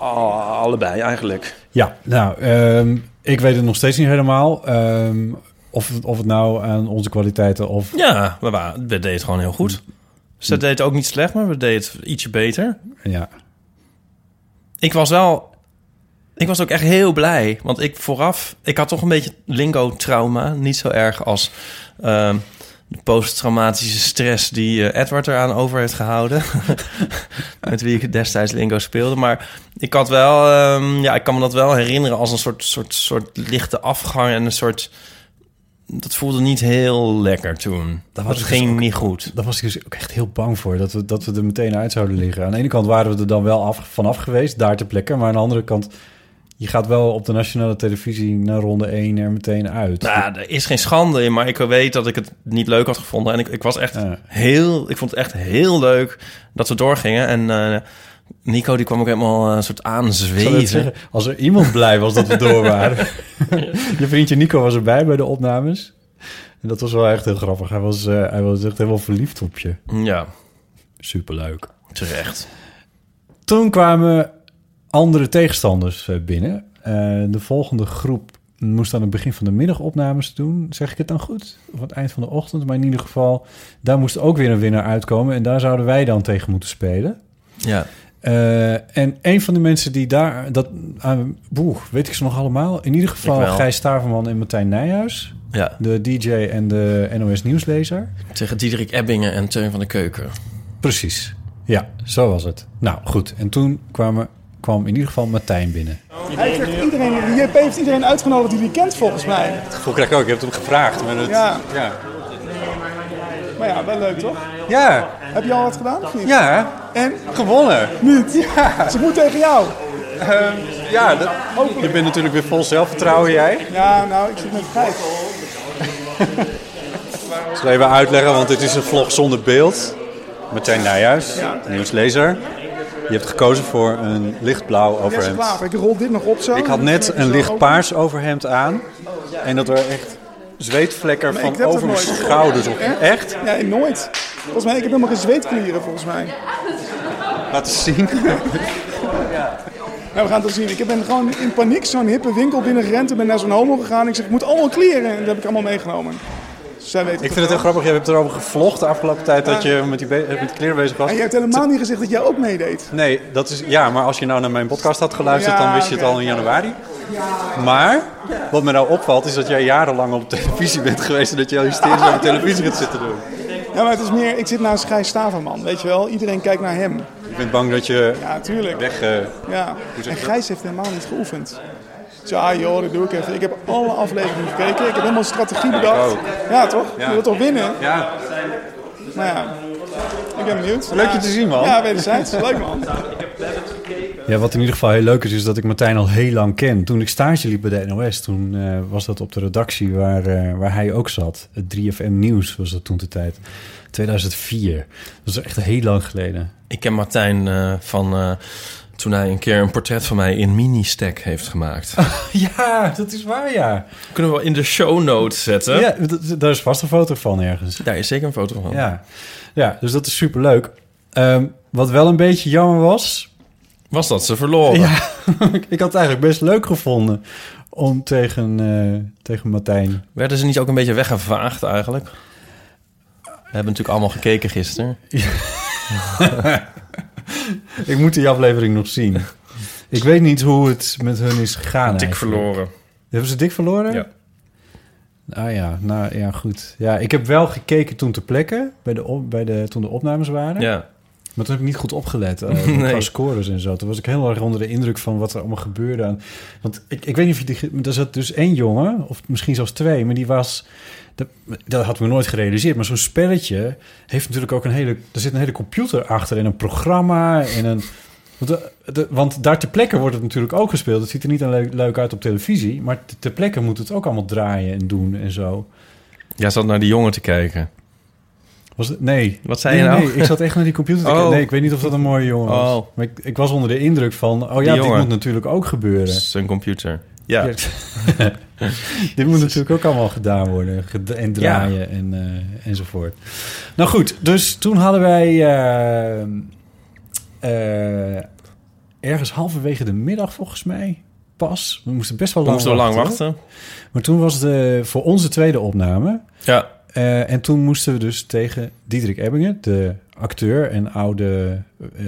E: Oh, allebei eigenlijk.
D: Ja, nou, ehm, ik weet het nog steeds niet helemaal. Ehm, of, het- of het nou aan onze kwaliteiten of...
E: Ja, we, wa- we deden het gewoon heel goed. Ze
I: Hm.
E: deed het ook niet slecht, maar we deden het ietsje beter.
D: Ja.
E: Ik was wel... Ik was ook echt heel blij, want ik vooraf... Ik had toch een beetje lingo-trauma. Niet zo erg als ehm, de posttraumatische stress die eh, Edward eraan over heeft gehouden. <laughs> Met wie ik destijds lingo speelde. Maar ik had wel... ehm, ja, ik kan me dat wel herinneren als een soort, soort, soort lichte afgang en een soort... Dat voelde niet heel lekker toen. Dat,
D: was ik dus
E: ging
D: ook-
E: niet goed.
D: Daar was ik dus ook echt heel bang voor, dat we, dat we er meteen uit zouden liggen. Aan de ene kant waren we er dan wel af, vanaf geweest, daar ter plekke. Maar aan de andere kant, je gaat wel op de nationale televisie na ronde 1 er meteen uit.
E: Nou, er is geen schande in, maar ik weet dat ik het niet leuk had gevonden. En ik, ik was echt heel, ik vond het echt heel leuk dat we doorgingen. En eh, Nico, die kwam ook helemaal eh, een soort
D: Ik zou net
E: aanzweven.
D: zeggen, als er iemand blij was dat we door waren. je vriendje Nico was erbij bij de opnames. En dat was wel echt heel grappig. Hij was, eh, hij was echt helemaal verliefd op je.
E: Ja.
D: Superleuk.
E: Terecht.
D: Toen kwamen andere tegenstanders eh, binnen. Eh, de volgende groep moest aan het begin van de middag opnames doen. Zeg ik het dan goed? Of aan het eind van de ochtend. Maar in ieder geval, daar moest ook weer een winnaar uitkomen. En daar zouden wij dan tegen moeten spelen.
E: Ja.
D: Eh, en een van de mensen die daar... Dat, aan boeh, weet ik ze nog allemaal? In ieder geval
E: Ik wel.
D: Gijs Staverman en Martijn Nijhuis.
E: Ja.
D: De DJ en de NOS Nieuwslezer.
E: Tegen Diederik Ebbingen en Teun van de Keuken.
D: Precies. Ja, zo was het. Nou, goed. En toen kwamen, kwam in ieder geval Martijn binnen.
L: Hij trekt iedereen, JP heeft iedereen uitgenodigd die hij kent volgens mij.
H: Het gevoel krijg ik ook, je hebt hem gevraagd. Maar het,
L: Ja.
H: ja.
L: Maar ja, wel leuk toch?
H: Ja.
L: Heb je al wat gedaan of niet?
H: Ja, en gewonnen.
L: Niet? Ja. Ze moet tegen jou.
H: ja, dat, je bent natuurlijk weer vol zelfvertrouwen, jij.
L: Ja, nou, ik zit met Gijs.
H: Ik zal even uitleggen, want dit is een vlog zonder beeld. Martijn Nijhuis,
L: Ja.
H: nieuwslezer. Je hebt gekozen voor een lichtblauw
L: Jesse
H: overhemd.
L: Klaver, ik rol dit nog op zo.
H: Ik had net een licht paars overhemd aan. En dat er echt zweetvlekken
L: Maar ik
H: van
L: heb dat
H: over mijn
L: nooit.
H: schouders op. Echt?
L: Nee, nooit. Volgens mij, ik heb helemaal geen zweetklieren volgens mij.
H: Laat eens zien.
L: <laughs> Nou, we gaan het wel zien. Ik ben gewoon in paniek zo'n hippe winkel binnengerend en ben naar zo'n homo gegaan. Ik zeg, ik moet allemaal kleren. En dat heb ik allemaal meegenomen. Dus zij weten
H: Ik vind het heel grappig, jij hebt erover gevlogd de afgelopen tijd dat
L: Ja. Ah,
H: je met die be- met die kleren bezig was.
L: En je hebt helemaal niet gezegd dat jij ook meedeed.
H: Nee, dat is, ja, maar als je nou naar mijn podcast had geluisterd,
L: Ja,
H: dan wist je het
L: oké.
H: al in januari. Maar wat me nou opvalt, is dat jij jarenlang op televisie bent geweest en dat je al hysterisch aan de televisie gaat zitten doen.
L: Ja, maar het is meer, ik zit naast Gijs Staverman, weet je wel. Iedereen kijkt naar hem.
H: Ik ben bang dat je
L: Ja, tuurlijk.
H: weg... eh,
L: Ja,
H: Hoe zeg je
L: en
H: dat?
L: Gijs heeft helemaal niet geoefend. Dus ja, joh, dat doe ik even. Ik heb alle afleveringen gekeken. Ik heb helemaal een strategie bedacht.
M: Oh.
H: ook.
L: Ja, toch?
H: Ja.
L: Je wilt toch winnen?
H: ja,
L: Nou ja, ik ben benieuwd.
H: Leuk je
L: Ja.
H: te zien, man.
L: Ja,
H: <laughs>
L: wederzijds. Leuk, man.
D: Ja, wat in ieder geval heel leuk is, is dat ik Martijn al heel lang ken. Toen ik stage liep bij de NOS, toen eh, was dat op de redactie waar, eh, waar hij ook zat. Het 3FM Nieuws was dat toen de tijd. 2004. Dat is echt heel lang geleden.
E: Ik ken Martijn eh, van eh, toen hij een keer een portret van mij in mini-stack heeft gemaakt.
D: <laughs> Ah. Ja, dat is waar, ja.
E: Kunnen we wel in de show notes zetten?
D: Ja, dat- daar is vast een foto van ergens.
E: Daar is zeker een foto van.
D: Ja, ja dus dat is superleuk. Ehm, wat wel een beetje jammer was...
E: Was dat ze verloren?
D: Ja, ik had het eigenlijk best leuk gevonden. om tegen, eh, tegen Martijn.
E: Werden ze niet ook een beetje weggevaagd eigenlijk? We hebben natuurlijk allemaal gekeken gisteren.
D: Ik moet die aflevering nog zien. Ik weet niet hoe het met hun is gegaan.
E: Dik
D: eigenlijk.
E: verloren.
D: Hebben ze dik verloren? Ja. Nou ja, nou ja, goed. Ja, ik heb wel gekeken toen ter plekke, bij de op, bij de, toen de opnames waren.
E: Ja.
D: Maar toen heb ik niet goed opgelet eh,
E: Nee.
D: qua scores en zo. Toen was ik heel erg onder de indruk van wat er allemaal gebeurde. aan- Want ik, ik weet niet of je... Die, ge- maar er zat dus één jongen, of misschien zelfs twee... maar die was... Dat, dat had ik me nooit gerealiseerd. Maar zo'n spelletje heeft natuurlijk ook een hele... Er zit een hele computer achter en een programma en een... Want, de- de- want daar ter plekke wordt het natuurlijk ook gespeeld. Het ziet er niet alleen leuk, leuk uit op televisie... maar te- ter plekke moet het ook allemaal draaien en doen en zo.
E: Jij zat naar die jongen te kijken.
D: Was het, nee.
E: Wat zei
D: nee,
E: je nou?
D: Nee, ik zat echt naar die computer te
E: <laughs> Oh.
D: kijken. Nee, ik weet niet of dat een mooie jongen was.
E: Oh.
D: Maar ik, ik was onder de indruk van... Oh
E: Die
D: ja, dit
E: jongen.
D: moet natuurlijk ook gebeuren.
E: Zijn computer. Ja.
D: <laughs> dit moet natuurlijk ook allemaal gedaan worden. ged- en draaien en, eh, enzovoort. Nou goed, dus toen hadden wij... eh, eh, ergens halverwege de middag volgens mij pas. We moesten best wel
E: We
D: lang
E: moesten lang wachten.
D: Maar toen was de voor onze tweede opname.
E: Ja.
D: Eh, en toen moesten we dus tegen Diederik Ebbingen, de acteur en oude eh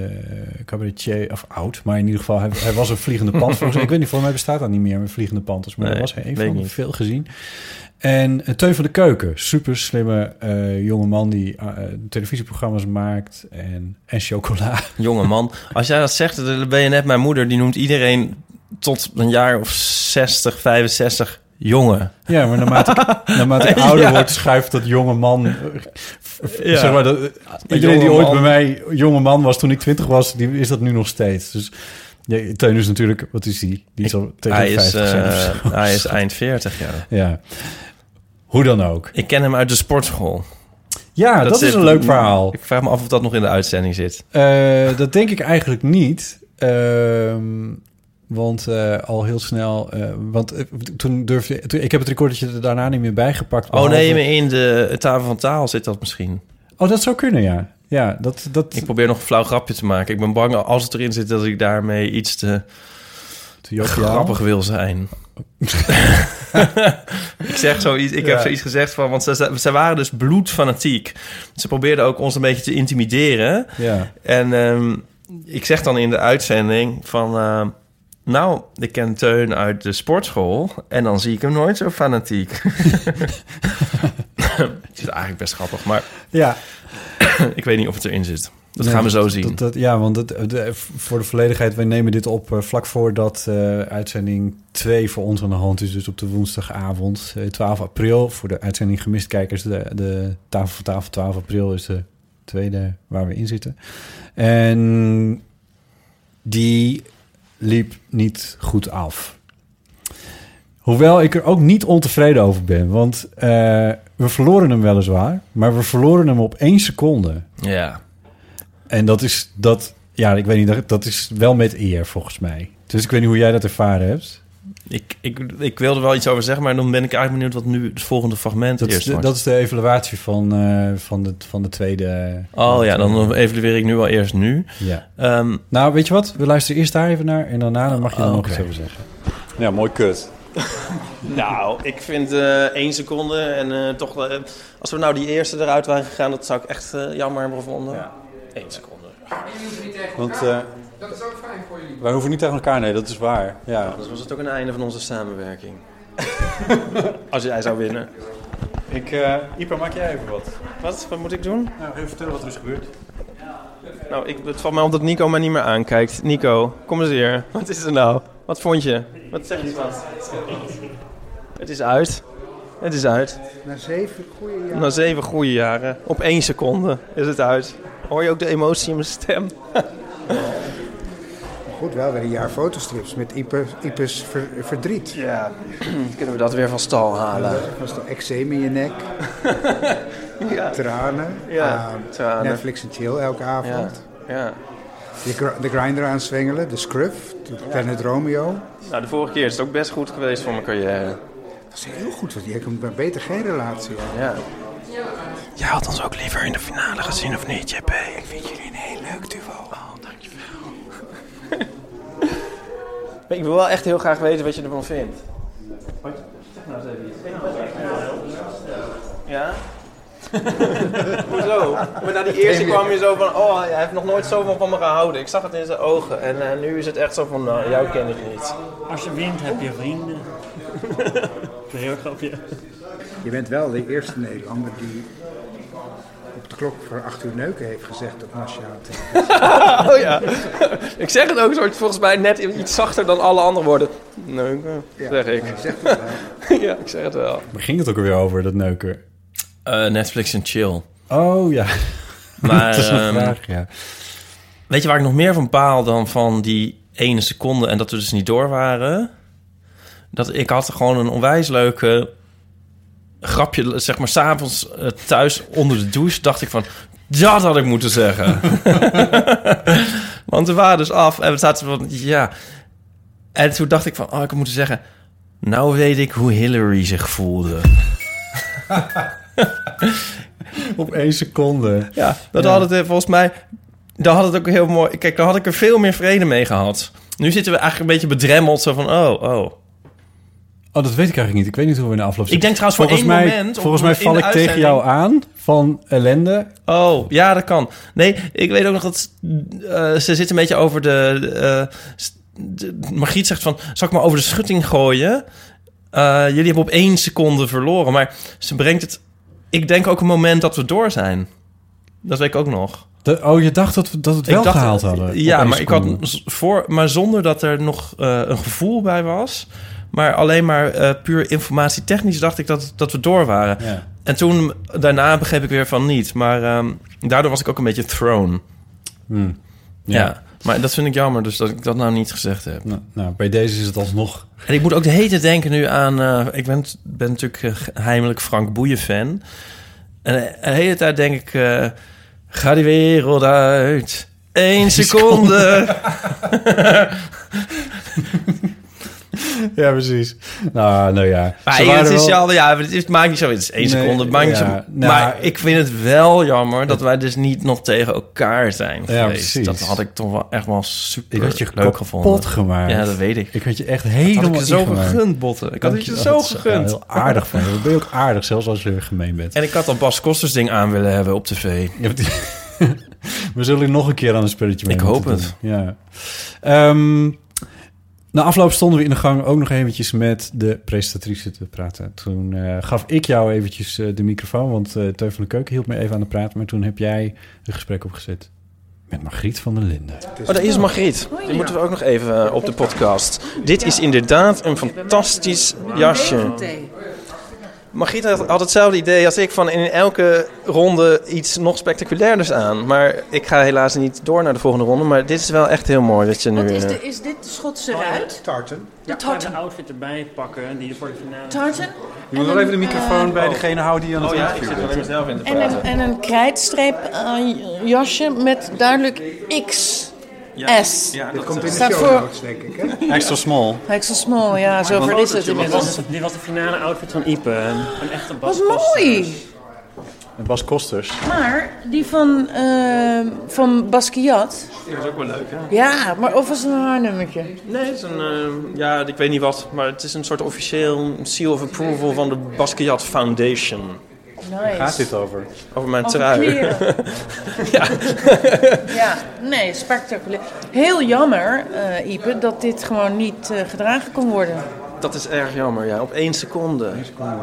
D: cabaretier, of oud, maar in ieder geval, hij, hij was een vliegende pand.
E: <laughs>
D: Volgens mij, ik weet niet, volgens mij bestaat dat niet meer met vliegende panthers, maar
E: Nee,
D: dat was hij een
E: weet
D: van
E: ik
D: de
E: niet.
D: veel gezien. En eh, Teun van de Keuken, super slimme eh jonge man die eh, televisieprogramma's maakt en, en chocola.
E: Jonge man, als jij dat zegt, dan ben je net mijn moeder. Die noemt iedereen tot een jaar of 60, 65 jongen.
D: Ja, maar naarmate
E: <laughs>
D: ik, naarmate ik ouder
E: Ja.
D: word, schuift dat jonge man. eh, f- f-
E: Ja.
D: Zeg maar, dat, eh,
E: Een
D: iedereen die
E: jonge
D: ooit
E: man.
D: bij mij jonge man was toen ik twintig was, die is dat nu nog steeds. Dus ja, Teun is natuurlijk, wat is die? Die is al tegen
E: Hij
D: de
E: is,
D: 50 zijn of
E: eh,
D: zo.
E: hij is eind 40, ja.
D: Ja. Hoe dan ook.
E: Ik ken hem uit de sportschool.
D: Ja, dat, is
E: zit-
D: een leuk verhaal.
E: Ik vraag me af of dat nog in de uitzending zit. Oh,
D: Eh, dat denk ik eigenlijk niet. Ehm, want eh, al heel snel. eh, want eh, toen durfde. Toen, ik heb het recordertje er daarna niet meer bijgepakt.
E: Oh nee,
D: behalve-
E: maar in de tafel van taal zit dat misschien.
D: Oh, dat zou kunnen, ja. Ja, dat, dat
E: Ik probeer nog een flauw grapje te maken. Ik ben bang als het erin zit dat ik daarmee iets te,
D: joviaal?
E: grappig wil
D: <laughs>
E: zijn. ik zeg zoiets, ik heb
D: Ja.
E: zoiets gezegd van, want ze, ze waren dus bloedfanatiek. Ze probeerden ook ons een beetje te intimideren.
D: Ja.
E: En ehm, ik zeg dan in de uitzending van, ehm, nou, ik ken Teun uit de sportschool en dan zie ik hem nooit zo fanatiek.
D: <laughs>
E: <laughs> het is eigenlijk best grappig, maar
D: Ja.
E: ik weet niet of het erin zit. Dat
D: Nee,
E: gaan we zo
D: dat-
E: zien.
D: dat- dat- ja, want het, de- voor de volledigheid, wij nemen dit op eh, vlak voordat eh uitzending 2 voor ons aan de hand is. Dus op de woensdagavond, eh, 12 april. Voor de uitzending gemist kijkers, de, de tafel voor tafel 12 april is de tweede waar we in zitten. En die liep niet goed af. Hoewel ik er ook niet ontevreden over ben, want eh, we verloren hem weliswaar, maar we verloren hem op één seconde.
E: Ja.
D: En dat is dat, ja, ik weet niet, dat- dat is wel met eer volgens mij. Dus ik weet niet hoe jij dat ervaren hebt.
E: Ik, ik, ik wilde wel iets over zeggen, maar dan ben ik eigenlijk benieuwd wat nu het volgende fragment
D: Dat, is
E: eerst
D: de,
E: wordt.
D: dat is de evaluatie van, eh, van, de, van de tweede.
E: Oh ja, dan evalueer ik nu wel eerst nu.
D: Ja.
E: Ehm,
D: Nou, weet je wat? We luisteren eerst daar even naar en daarna dan mag je er
E: Oh,
D: nog
E: oké.
D: iets over zeggen.
E: Ja, mooi kut. nou, ik vind eh, één seconde en eh, toch... eh, als we nou die eerste eruit waren gegaan, dat zou ik echt eh, jammer hebben gevonden. Eén seconde.
D: Want, eh,
N: Dat is ook fijn voor jullie.
D: Wij hoeven niet tegen elkaar, nee, dat is waar. Ja.
E: Anders was het ook een einde van onze
D: <laughs>
E: samenwerking. als jij zou winnen.
D: Ik, Ipa, maak jij even wat?
E: Wat? Wat moet ik doen?
D: Nou, even vertellen wat er is gebeurd.
E: Nou, ik, het valt mij op dat Nico mij niet meer aankijkt. Nico, kom eens hier. Wat is er nou? Wat vond je? Wat zeg je wat? Het is uit. Het is uit.
N: Na zeven goede jaren.
H: Nou.
E: Na zeven goede jaren, op één seconde, is het uit. Hoor je ook de emotie in mijn stem?
N: Goed, wel weer een jaar fotostrips met Ipers, Ipers ver- verdriet.
E: Ja, <clears throat> kunnen we dat weer van stal halen.
N: Dat was toch eczeem in je
H: <laughs>
N: nek? Tranen.
E: Ja,
N: Ah,
E: tranen.
N: Netflix en chill elke avond.
E: ja.
N: De, gr- de grinder aanswengelen, de scruff, de Planet Romeo.
E: Nou, de vorige keer is het ook best goed geweest voor mijn carrière.
N: Dat is heel goed, want je hebt beter geen relatie.
E: Ja. Jij had ons ook liever in de finale gezien, of niet, JP? Ik vind jullie een heel leuk duo. Oh, dankjewel. <laughs> ik wil wel echt heel graag weten wat je ervan vindt.
M: nou Ja? <laughs> Hoezo? Maar na die eerste kwam je zo van, oh, hij heeft nog nooit zoveel van me gehouden. Ik zag het in zijn ogen. En eh, nu is het echt zo van, nou, jou ken ik niet.
O: Als je wint heb je vrienden. Heel grapje.
N: Je bent wel de eerste Nederlander die op de klok voor 8 uur neuken heeft gezegd op nationaal televisie.
M: oh ja. <laughs> ik zeg het ook soort, volgens mij net iets zachter dan alle andere woorden. <laughs> Neuken, zeg ik. ja, ik zeg het wel.
D: Waar ging het ook alweer over, dat neuken?
E: Eh, Netflix en chill.
D: Oh ja.
E: Maar,
D: <laughs> dat is een
E: ehm,
D: vraag, ja.
E: Weet je waar ik nog meer van paal dan van die ene seconde en dat we dus niet door waren? Dat ik had gewoon een onwijs leuke grapje, zeg maar, s'avonds eh, thuis onder de douche dacht ik van, dat had ik moeten
D: <laughs>
E: zeggen. Want we waren dus af en we zaten van, ja. En toen dacht ik van, oh, ik had moeten zeggen, nou weet ik hoe Hillary zich voelde.
D: <laughs> Op één seconde.
E: Ja, dat
D: Ja.
E: had het eh, volgens mij. Daar had het ook heel mooi. Kijk, daar had ik er veel meer vrede mee gehad. Nu zitten we eigenlijk een beetje bedremmeld. Zo van, oh, oh.
D: Oh, dat weet ik eigenlijk niet. Ik weet niet hoe we in de afloop
E: Ik denk trouwens voor
D: volgens
E: één
D: mij,
E: moment op-
D: Volgens mij
E: in
D: val
E: de
D: ik tegen
E: uitzending-
D: jou aan van ellende.
E: Oh, ja, dat kan. Nee, ik weet ook nog dat eh, ze zit een beetje over de, eh, s- de- Margriet zegt van, zal ik maar over de schutting gooien? Eh, jullie hebben op één seconde verloren, maar ze brengt het... Ik denk ook een moment dat we door zijn. Dat weet ik ook nog.
D: De- oh, je dacht dat we dat we het wel
E: Ik dacht-
D: gehaald hadden.
E: Ja,
D: Op één
E: maar, ik had
D: seconde.
E: z- voor, maar zonder dat er nog eh, een gevoel bij was. Maar alleen maar eh, puur informatietechnisch dacht ik dat, dat we door waren.
D: Ja.
E: En toen daarna begreep ik weer van niet. Maar ehm, daardoor was ik ook een beetje thrown.
D: Hmm.
E: Ja.
D: Ja.
E: maar dat vind ik jammer, dus dat ik dat nou niet gezegd heb.
D: Nou, bij deze is het
E: <laughs>
D: alsnog.
E: En ik moet ook de hele tijd denken nu aan... eh, ik ben, ben natuurlijk eh, heimelijk Frank Boeien-fan. En eh, de hele tijd denk ik... eh, ga die wereld uit. Eén seconde.
D: Ja, precies. Nou, nou ja.
E: Maar
D: Ze
E: het,
D: waren
E: is
D: wel-
E: wel, ja, het, is, het maakt niet zo. Het is één
D: Nee,
E: seconde. Het maakt niet
D: ja,
E: zo,
D: nou,
E: maar ik vind het wel jammer dat wij dus niet nog tegen elkaar zijn
D: Ja,
E: geweest.
D: precies.
E: dat had ik toch wel echt wel super
D: Ik had je
E: leuk
D: kapot
E: gevonden.
D: gemaakt.
E: Ja, dat weet ik.
D: Ik had je echt helemaal
E: Dat had ik je zo
D: ingemaakt.
E: gegund, Botten. Ik had het je
D: Dankjewel.
E: zo
D: Dat is, ja,
E: gegund.
D: heel aardig van je. Dan ben je ook aardig, zelfs als je gemeen bent.
E: <laughs> En ik had al Bas Kosters ding aan willen hebben op tv.
D: <laughs> We zullen nog een keer aan een spelletje mee
E: Ik
D: moeten
E: hoop het.
D: doen. Ja. Ehm, na afloop stonden we in de gang ook nog eventjes met de presentatrice te praten. Toen eh, gaf ik jou eventjes eh, de microfoon, want eh Teun van de Keuken hield me even aan de praat. Maar toen heb jij een gesprek opgezet met Margriet van der Linden.
M: Oh, daar is Margriet. Die moeten we ook nog even eh, op de podcast. Dit is inderdaad een fantastisch jasje. Margriet had, had hetzelfde idee als ik van in elke ronde iets nog spectaculairders aan. Maar ik ga helaas niet door naar de volgende ronde. Maar dit is wel echt heel mooi dat je nu...
F: Wat is,
M: eh,
F: de, is dit de Schotse ruit?
N: Tartan.
F: De
O: Oh, Ik ga de
F: tartan.
O: outfit erbij pakken die je voor de finale...
F: Tartan?
O: Je
F: moet En wel een, even de microfoon eh, bij
O: degene houden die aan
M: het interview is.
F: En een, en een krijtstreep eh, jasje met duidelijk X.
M: Ja,
F: S.
M: ja, dat
N: Dit komt in de
F: Staat
N: show
F: voor
N: notes, denk ik. Hè?
O: Extra small.
F: Hexel Small, ja, zo ver is het inmiddels.
O: Dit was de finale outfit van Ipe. Een echte
F: Wat
O: Bas
F: mooi!
D: Met Bas Kosters.
F: Maar die van, eh, van Basquiat,
M: Die was ook wel leuk, hè?
F: ja, maar of was het een haar nummertje?
M: Nee, het is een... eh, ja, ik weet niet wat. Maar het is een soort officieel seal of approval van de Basquiat Foundation.
F: Nice.
M: over? Over mijn
F: Over
M: trui.
F: kleren.
M: <laughs> ja.
F: Ja, nee, spectaculair. Heel jammer, eh, Ipe, dat dit gewoon niet eh, gedragen kon worden.
M: Dat is erg jammer, ja. Op één seconde.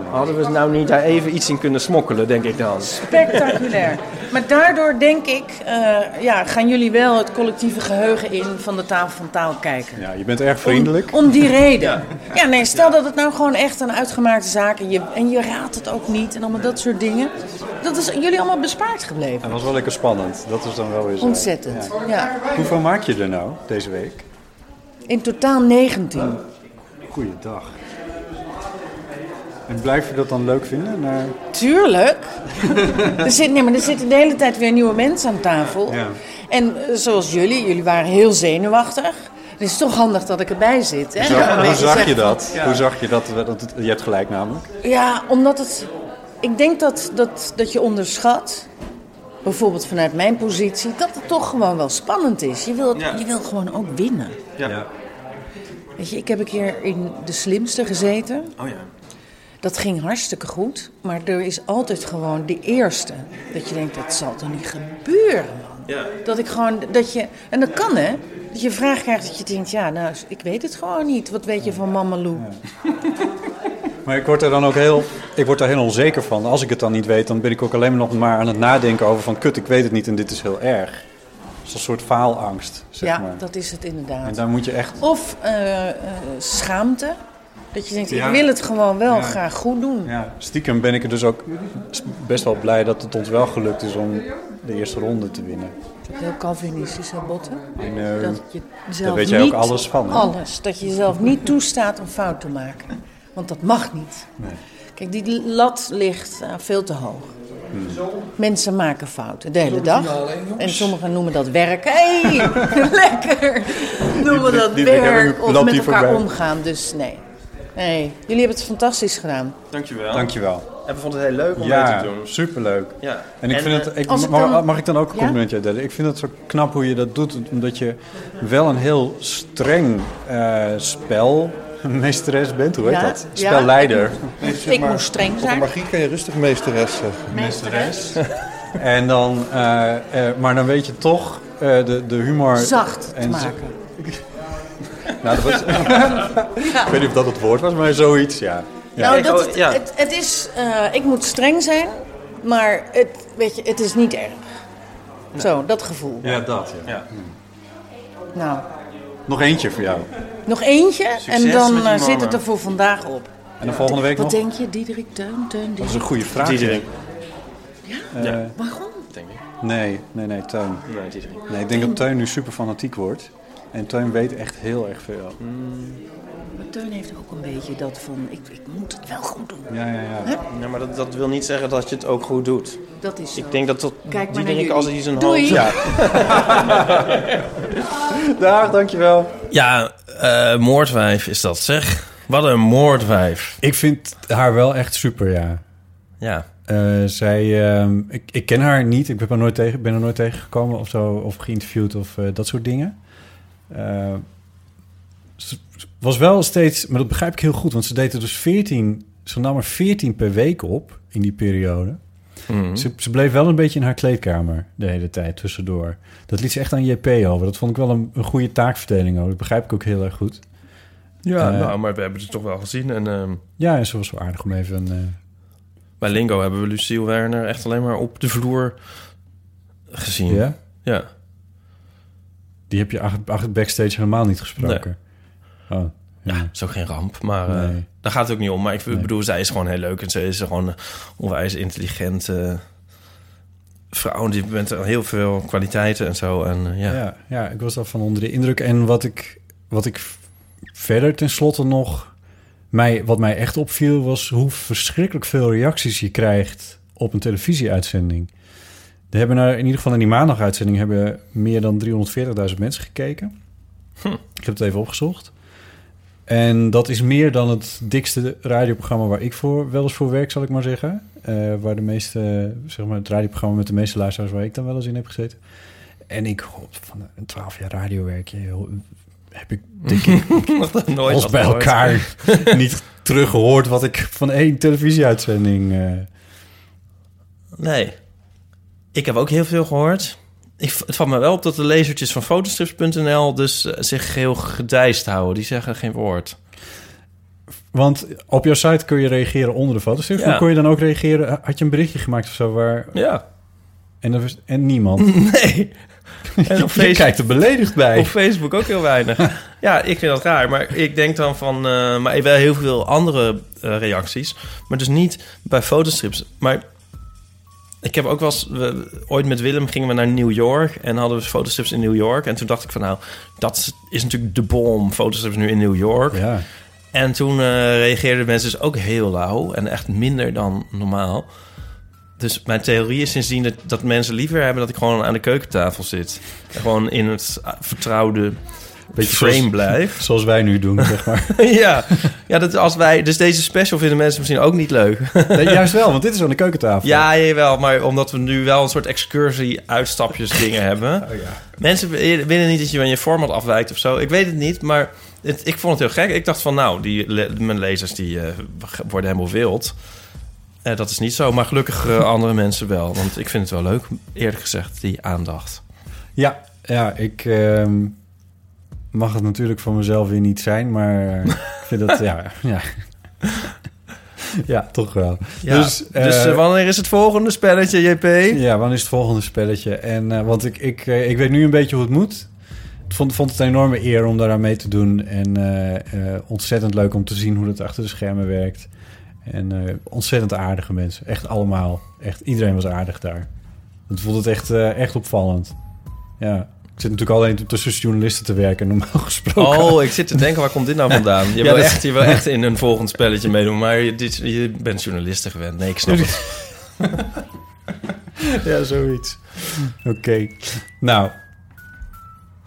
M: Hadden we nou niet daar even iets in kunnen smokkelen, denk ik dan.
F: Spectaculair. Maar daardoor denk ik, eh, ja, gaan jullie wel het collectieve geheugen in van de tafel van taal kijken.
D: Ja, je bent erg vriendelijk.
F: Om die reden. Ja, nee, stel dat het nou gewoon echt een uitgemaakte zaak en je, en je raadt het ook niet en allemaal dat soort dingen. Dat is jullie allemaal bespaard gebleven.
D: Het was wel lekker spannend. Dat is dan wel weer
F: Ontzettend. Ja.
D: Hoeveel maak je er nou deze week?
F: In totaal 19.
D: Goeiedag. En blijf je dat dan leuk vinden? Naar...
F: Tuurlijk. er, zit, nee, maar er zitten de hele tijd weer nieuwe mensen aan tafel.
D: Ja.
F: En eh, zoals jullie, jullie waren heel zenuwachtig. Het is toch handig dat ik erbij zit. Hè? Dat ik een
D: Hoe
F: beetje
D: zag
F: zeg
D: je
F: van-
D: dat? Hoe zag je dat? dat het- je hebt gelijk namelijk.
F: Ja, omdat het. Ik denk dat, dat, dat je onderschat, bijvoorbeeld vanuit mijn positie, dat het toch gewoon wel spannend is. Je wil,
M: Ja.
F: je wil gewoon ook winnen.
M: Ja.
F: Weet je, ik heb een keer in de slimste gezeten.
M: Oh ja.
F: Dat ging hartstikke goed, maar er is altijd gewoon de eerste. Dat je denkt, dat zal toch niet gebeuren, man. Dat ik gewoon, dat je, en dat kan hè, dat je een vraag krijgt dat je denkt, ja, nou, ik weet het gewoon niet. Wat weet je van Mama Lou?
D: Maar ik word er dan ook heel, ik word daar heel onzeker van. Als ik het dan niet weet, dan ben ik ook alleen maar nog maar aan het nadenken over van... kut, ik weet het niet en dit is heel erg. Het is een soort faalangst, zeg
F: ja,
D: maar.
F: dat is het inderdaad.
D: En daar moet je echt...
F: Of eh, eh, schaamte. Dat je denkt,
D: Ja.
F: ik wil het gewoon wel
D: Ja.
F: graag goed doen.
D: Ja, stiekem ben ik er dus ook best wel blij dat het ons wel gelukt is om de eerste ronde te winnen. eh,
F: Heel Calvinistisch, hè, Botten?
D: I know.
F: Dat je
D: Daar
F: zelf
D: weet jij ook
F: niet-
D: alles van, hè?
F: Alles. Dat je jezelf niet toestaat om fout te maken. Want dat mag niet.
D: Nee.
F: Kijk, die lat ligt eh, veel te hoog.
D: Hmm.
F: Mensen maken fouten de hele dag.
O: Doe het niet alleen,
F: En sommigen noemen dat werk. hey, lekker! Noemen
O: Die-
F: dat
O: die- die
F: werk.
O: hebben-
F: Of
O: loopt
F: met
O: die
F: elkaar
O: voorbij.
F: omgaan. Dus nee. nee. Jullie hebben het fantastisch gedaan.
M: Dankjewel.
D: Dankjewel.
M: En we vonden het heel leuk om mee
D: Ja,
M: te doen.
D: superleuk.
M: Ja.
D: En ik
M: En,
D: vind
M: eh,
D: het, ik,
M: als
D: mag,
M: ik dan-
D: mag ik dan ook een
M: Ja?
D: complimentje uitdelen? Ik vind het zo knap hoe je dat doet, omdat je wel een heel streng eh spel... <laughs> Meesteres bent, hoe heet
F: Ja,
D: dat?
F: ja.
D: Spelleider.
F: Nee, zeg Ik maar, moest streng op een zijn.
D: magie kan je rustig meesteres eh, zeggen.
F: Meesteres.
D: en dan, eh, eh, maar dan weet je toch eh, de, de humor...
F: Zacht te
D: en zo-
F: maken.
D: Nou, dat was, Ik weet niet of dat het woord was, maar zoiets, ja. ja.
F: Nou, dat, het, het is, eh, ik moet streng zijn, maar het, weet je, het is niet erg. Zo, dat gevoel.
D: Ja, dat. Ja.
F: Nou,
D: Nog eentje voor jou.
F: nog eentje
D: Succes
F: en dan
D: met die
F: eh,
D: mannen.
F: zit het er voor vandaag op.
D: En dan volgende week
F: Wat
D: nog?
F: denk je, Diederik Teun? Teun
D: Dat is een goede vraag.
M: Diederik.
D: Eh,
M: Ja.
F: Waarom?
M: Denk ik.
D: Nee, nee, nee, Teun.
M: Nee, Diederik.
D: Nee, ik denk dat Teun nu super fanatiek wordt. En Teun weet echt heel erg veel.
F: Maar Teun heeft ook een beetje dat van, ik, ik moet het wel goed doen.
D: Ja, ja, ja.
M: Ja, maar dat, dat wil niet zeggen dat je het ook goed doet.
F: Dat is zo.
M: Ik denk dat dat
F: Kijk maar naar
M: die denk ik
F: jullie.
M: als hij zijn
F: Doei.
M: hoofd...
F: Ja.
D: Dag, dankjewel.
E: Ja, eh, moordwijf is dat, zeg. Wat een moordwijf.
D: Ik vind haar wel echt super, ja.
E: Ja.
D: Eh, zij, ehm, ik, ik ken haar niet. Ik ben haar nooit, tegen, ben haar nooit tegengekomen of zo. Of geïnterviewd of eh, dat soort dingen. Eh, ze ze was wel steeds... Maar dat begrijp ik heel goed. Want ze deed er dus 14... Ze nam er 14 per week op in die periode.
B: Hm?
E: Mhm.
D: Ze, ze bleef wel een beetje in haar kleedkamer de hele tijd tussendoor. Dat liet ze echt aan JP over. Dat vond ik wel een, een goede taakverdeling ook. Dat begrijp ik ook heel erg goed.
E: Ja,
D: Eh,
E: nou, maar we hebben het toch wel gezien. En ehm,
D: ja, en ze was wel aardig om even... eh,
E: bij Lingo hebben we Lucille Werner echt alleen maar op de vloer
B: Hm.
E: gezien.
D: Ja?
E: Ja.
D: Die heb je achter, achter backstage helemaal niet gesproken. Oh, ja.
E: is ook geen ramp, maar eh,
D: Nee.
E: daar gaat het ook niet om. Maar ik bedoel, zij is gewoon heel leuk en ze is gewoon een onwijs intelligente vrouw. Die met heel veel kwaliteiten en zo. En, eh,
M: <laughs>
E: ja.
D: Ja. Ja, ik was daarvan onder de indruk. En wat ik, wat ik v- verder tenslotte nog... Mij, wat mij echt opviel was hoe verschrikkelijk veel reacties je krijgt op een televisieuitzending. Er hebben er, in ieder geval in die maandaguitzending hebben meer dan 340.000 mensen gekeken.
E: Hm.
D: Ik heb het even opgezocht. En dat is meer dan het dikste radioprogramma waar ik voor, wel eens voor werk, zal ik maar zeggen. Eh, waar de meeste, zeg maar, het radioprogramma met de meeste luisteraars waar ik dan wel eens in heb gezeten. En ik hoop van een 12 jaar radiowerkje joh, heb ik denk ik
E: Nog nooit
D: alles
E: wat
D: bij
E: gehoord.
D: elkaar
E: <laughs>
D: niet teruggehoord wat ik van één televisieuitzending. eh,
E: Nee. Ik heb ook heel veel gehoord. Ik, het valt me wel op dat de lezertjes van fotostrips.nl dus eh, zich heel gedijst houden. Die zeggen geen woord.
D: want op jouw site kun je reageren onder de foto's.
E: Ja.
D: Maar kon je dan ook reageren? Had je een berichtje gemaakt of zo waar?
E: Ja.
D: En, er was, en niemand.
E: <laughs> Nee.
D: En op je kijkt er beledigd bij.
E: Op Facebook ook heel weinig. ja, ik vind dat raar. Maar ik denk dan van... eh, maar wel heel veel andere eh, reacties. Maar dus niet bij fotostrips. Maar ik heb ook wel eens... we- ooit met Willem gingen we naar New York. En hadden we fotostrips in New York. En toen dacht ik van nou... Dat is natuurlijk de bom. Fotostrips nu in New York.
D: Ja.
E: En toen eh, reageerden mensen dus ook heel lauw. En echt minder dan normaal. Dus mijn theorie is sindsdien dat, dat mensen liever hebben dat ik gewoon aan de keukentafel zit. En gewoon in het ah, vertrouwde frame
D: zoals-
E: blijf. <laughs>
D: Zoals wij nu doen, zeg maar.
E: ja, ja dat als wij, dus deze special vinden mensen misschien ook niet leuk.
D: Nee, juist wel, want dit is aan de keukentafel.
E: Ja, jawel, maar omdat we nu wel een soort
D: Oh
E: excursie-uitstapjes dingen hebben. Mensen willen niet dat je van je format afwijkt of zo. Ik weet het niet, maar het, ik vond het heel gek. Ik dacht van, nou, die, le- mijn lezers die eh, worden helemaal wild. Eh, dat is niet zo, maar
D: <laughs>
E: gelukkig eh, andere mensen wel. Want ik vind het wel leuk, eerlijk gezegd, die aandacht.
D: Ja, ja ik ehm, mag het natuurlijk van mezelf weer niet zijn, maar eh, ik vind
E: <laughs>
D: dat, ja, ja. ja, toch wel.
E: Ja, dus eh, wanneer is het volgende spelletje, JP?
D: Ja, wanneer is het volgende spelletje? En, eh, want ik, ik, eh, ik weet nu een beetje hoe het moet. Ik vond, vond het een enorme eer om daaraan mee te doen. En eh, eh, ontzettend leuk om te zien hoe dat achter de schermen werkt. En eh, ontzettend aardige mensen. Echt allemaal. Echt, iedereen was aardig daar. Ik vond het echt, eh, echt opvallend. Ja. Ik zit natuurlijk alleen tussen journalisten te werken, normaal <laughs> gesproken.
E: Oh, ik zit te denken, waar komt dit nou vandaan? Je,
D: <laughs> Ja, dus
E: wil,
D: dat-
E: echt, je wil echt in een volgend spelletje meedoen, maar je, dit, je bent journalisten gewend. Nee, ik
D: <laughs>
E: snap het. Oh.
D: ja, zoiets. Oké. Nou,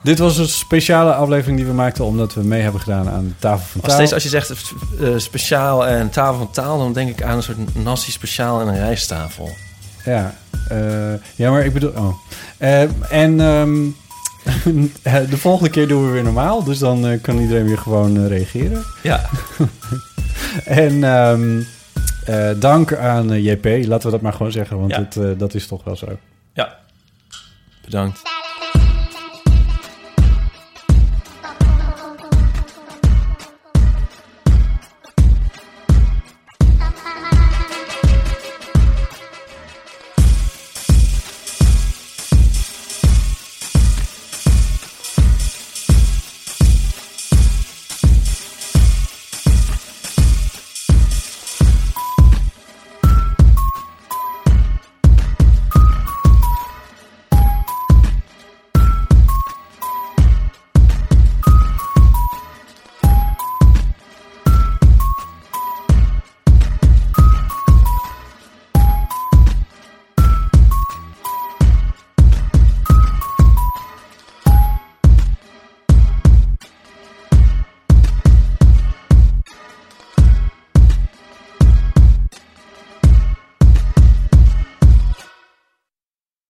D: dit was een speciale aflevering die we maakten omdat we mee hebben gedaan aan de tafel van
E: Nog
D: taal.
E: steeds als je zegt eh, speciaal en tafel van taal, dan denk ik aan een soort nasi speciaal en een rijsttafel.
D: Ja, eh, ja, maar ik bedoel. Oh. Eh, en ehm, <laughs> eh, de volgende keer doen we weer normaal, dus dan eh, kan iedereen weer gewoon eh, reageren.
E: Ja.
D: <laughs> en ehm, eh, dank aan eh, JP, laten we dat maar gewoon zeggen, want
E: Ja.
D: het, eh, dat is toch wel zo.
E: Bedankt.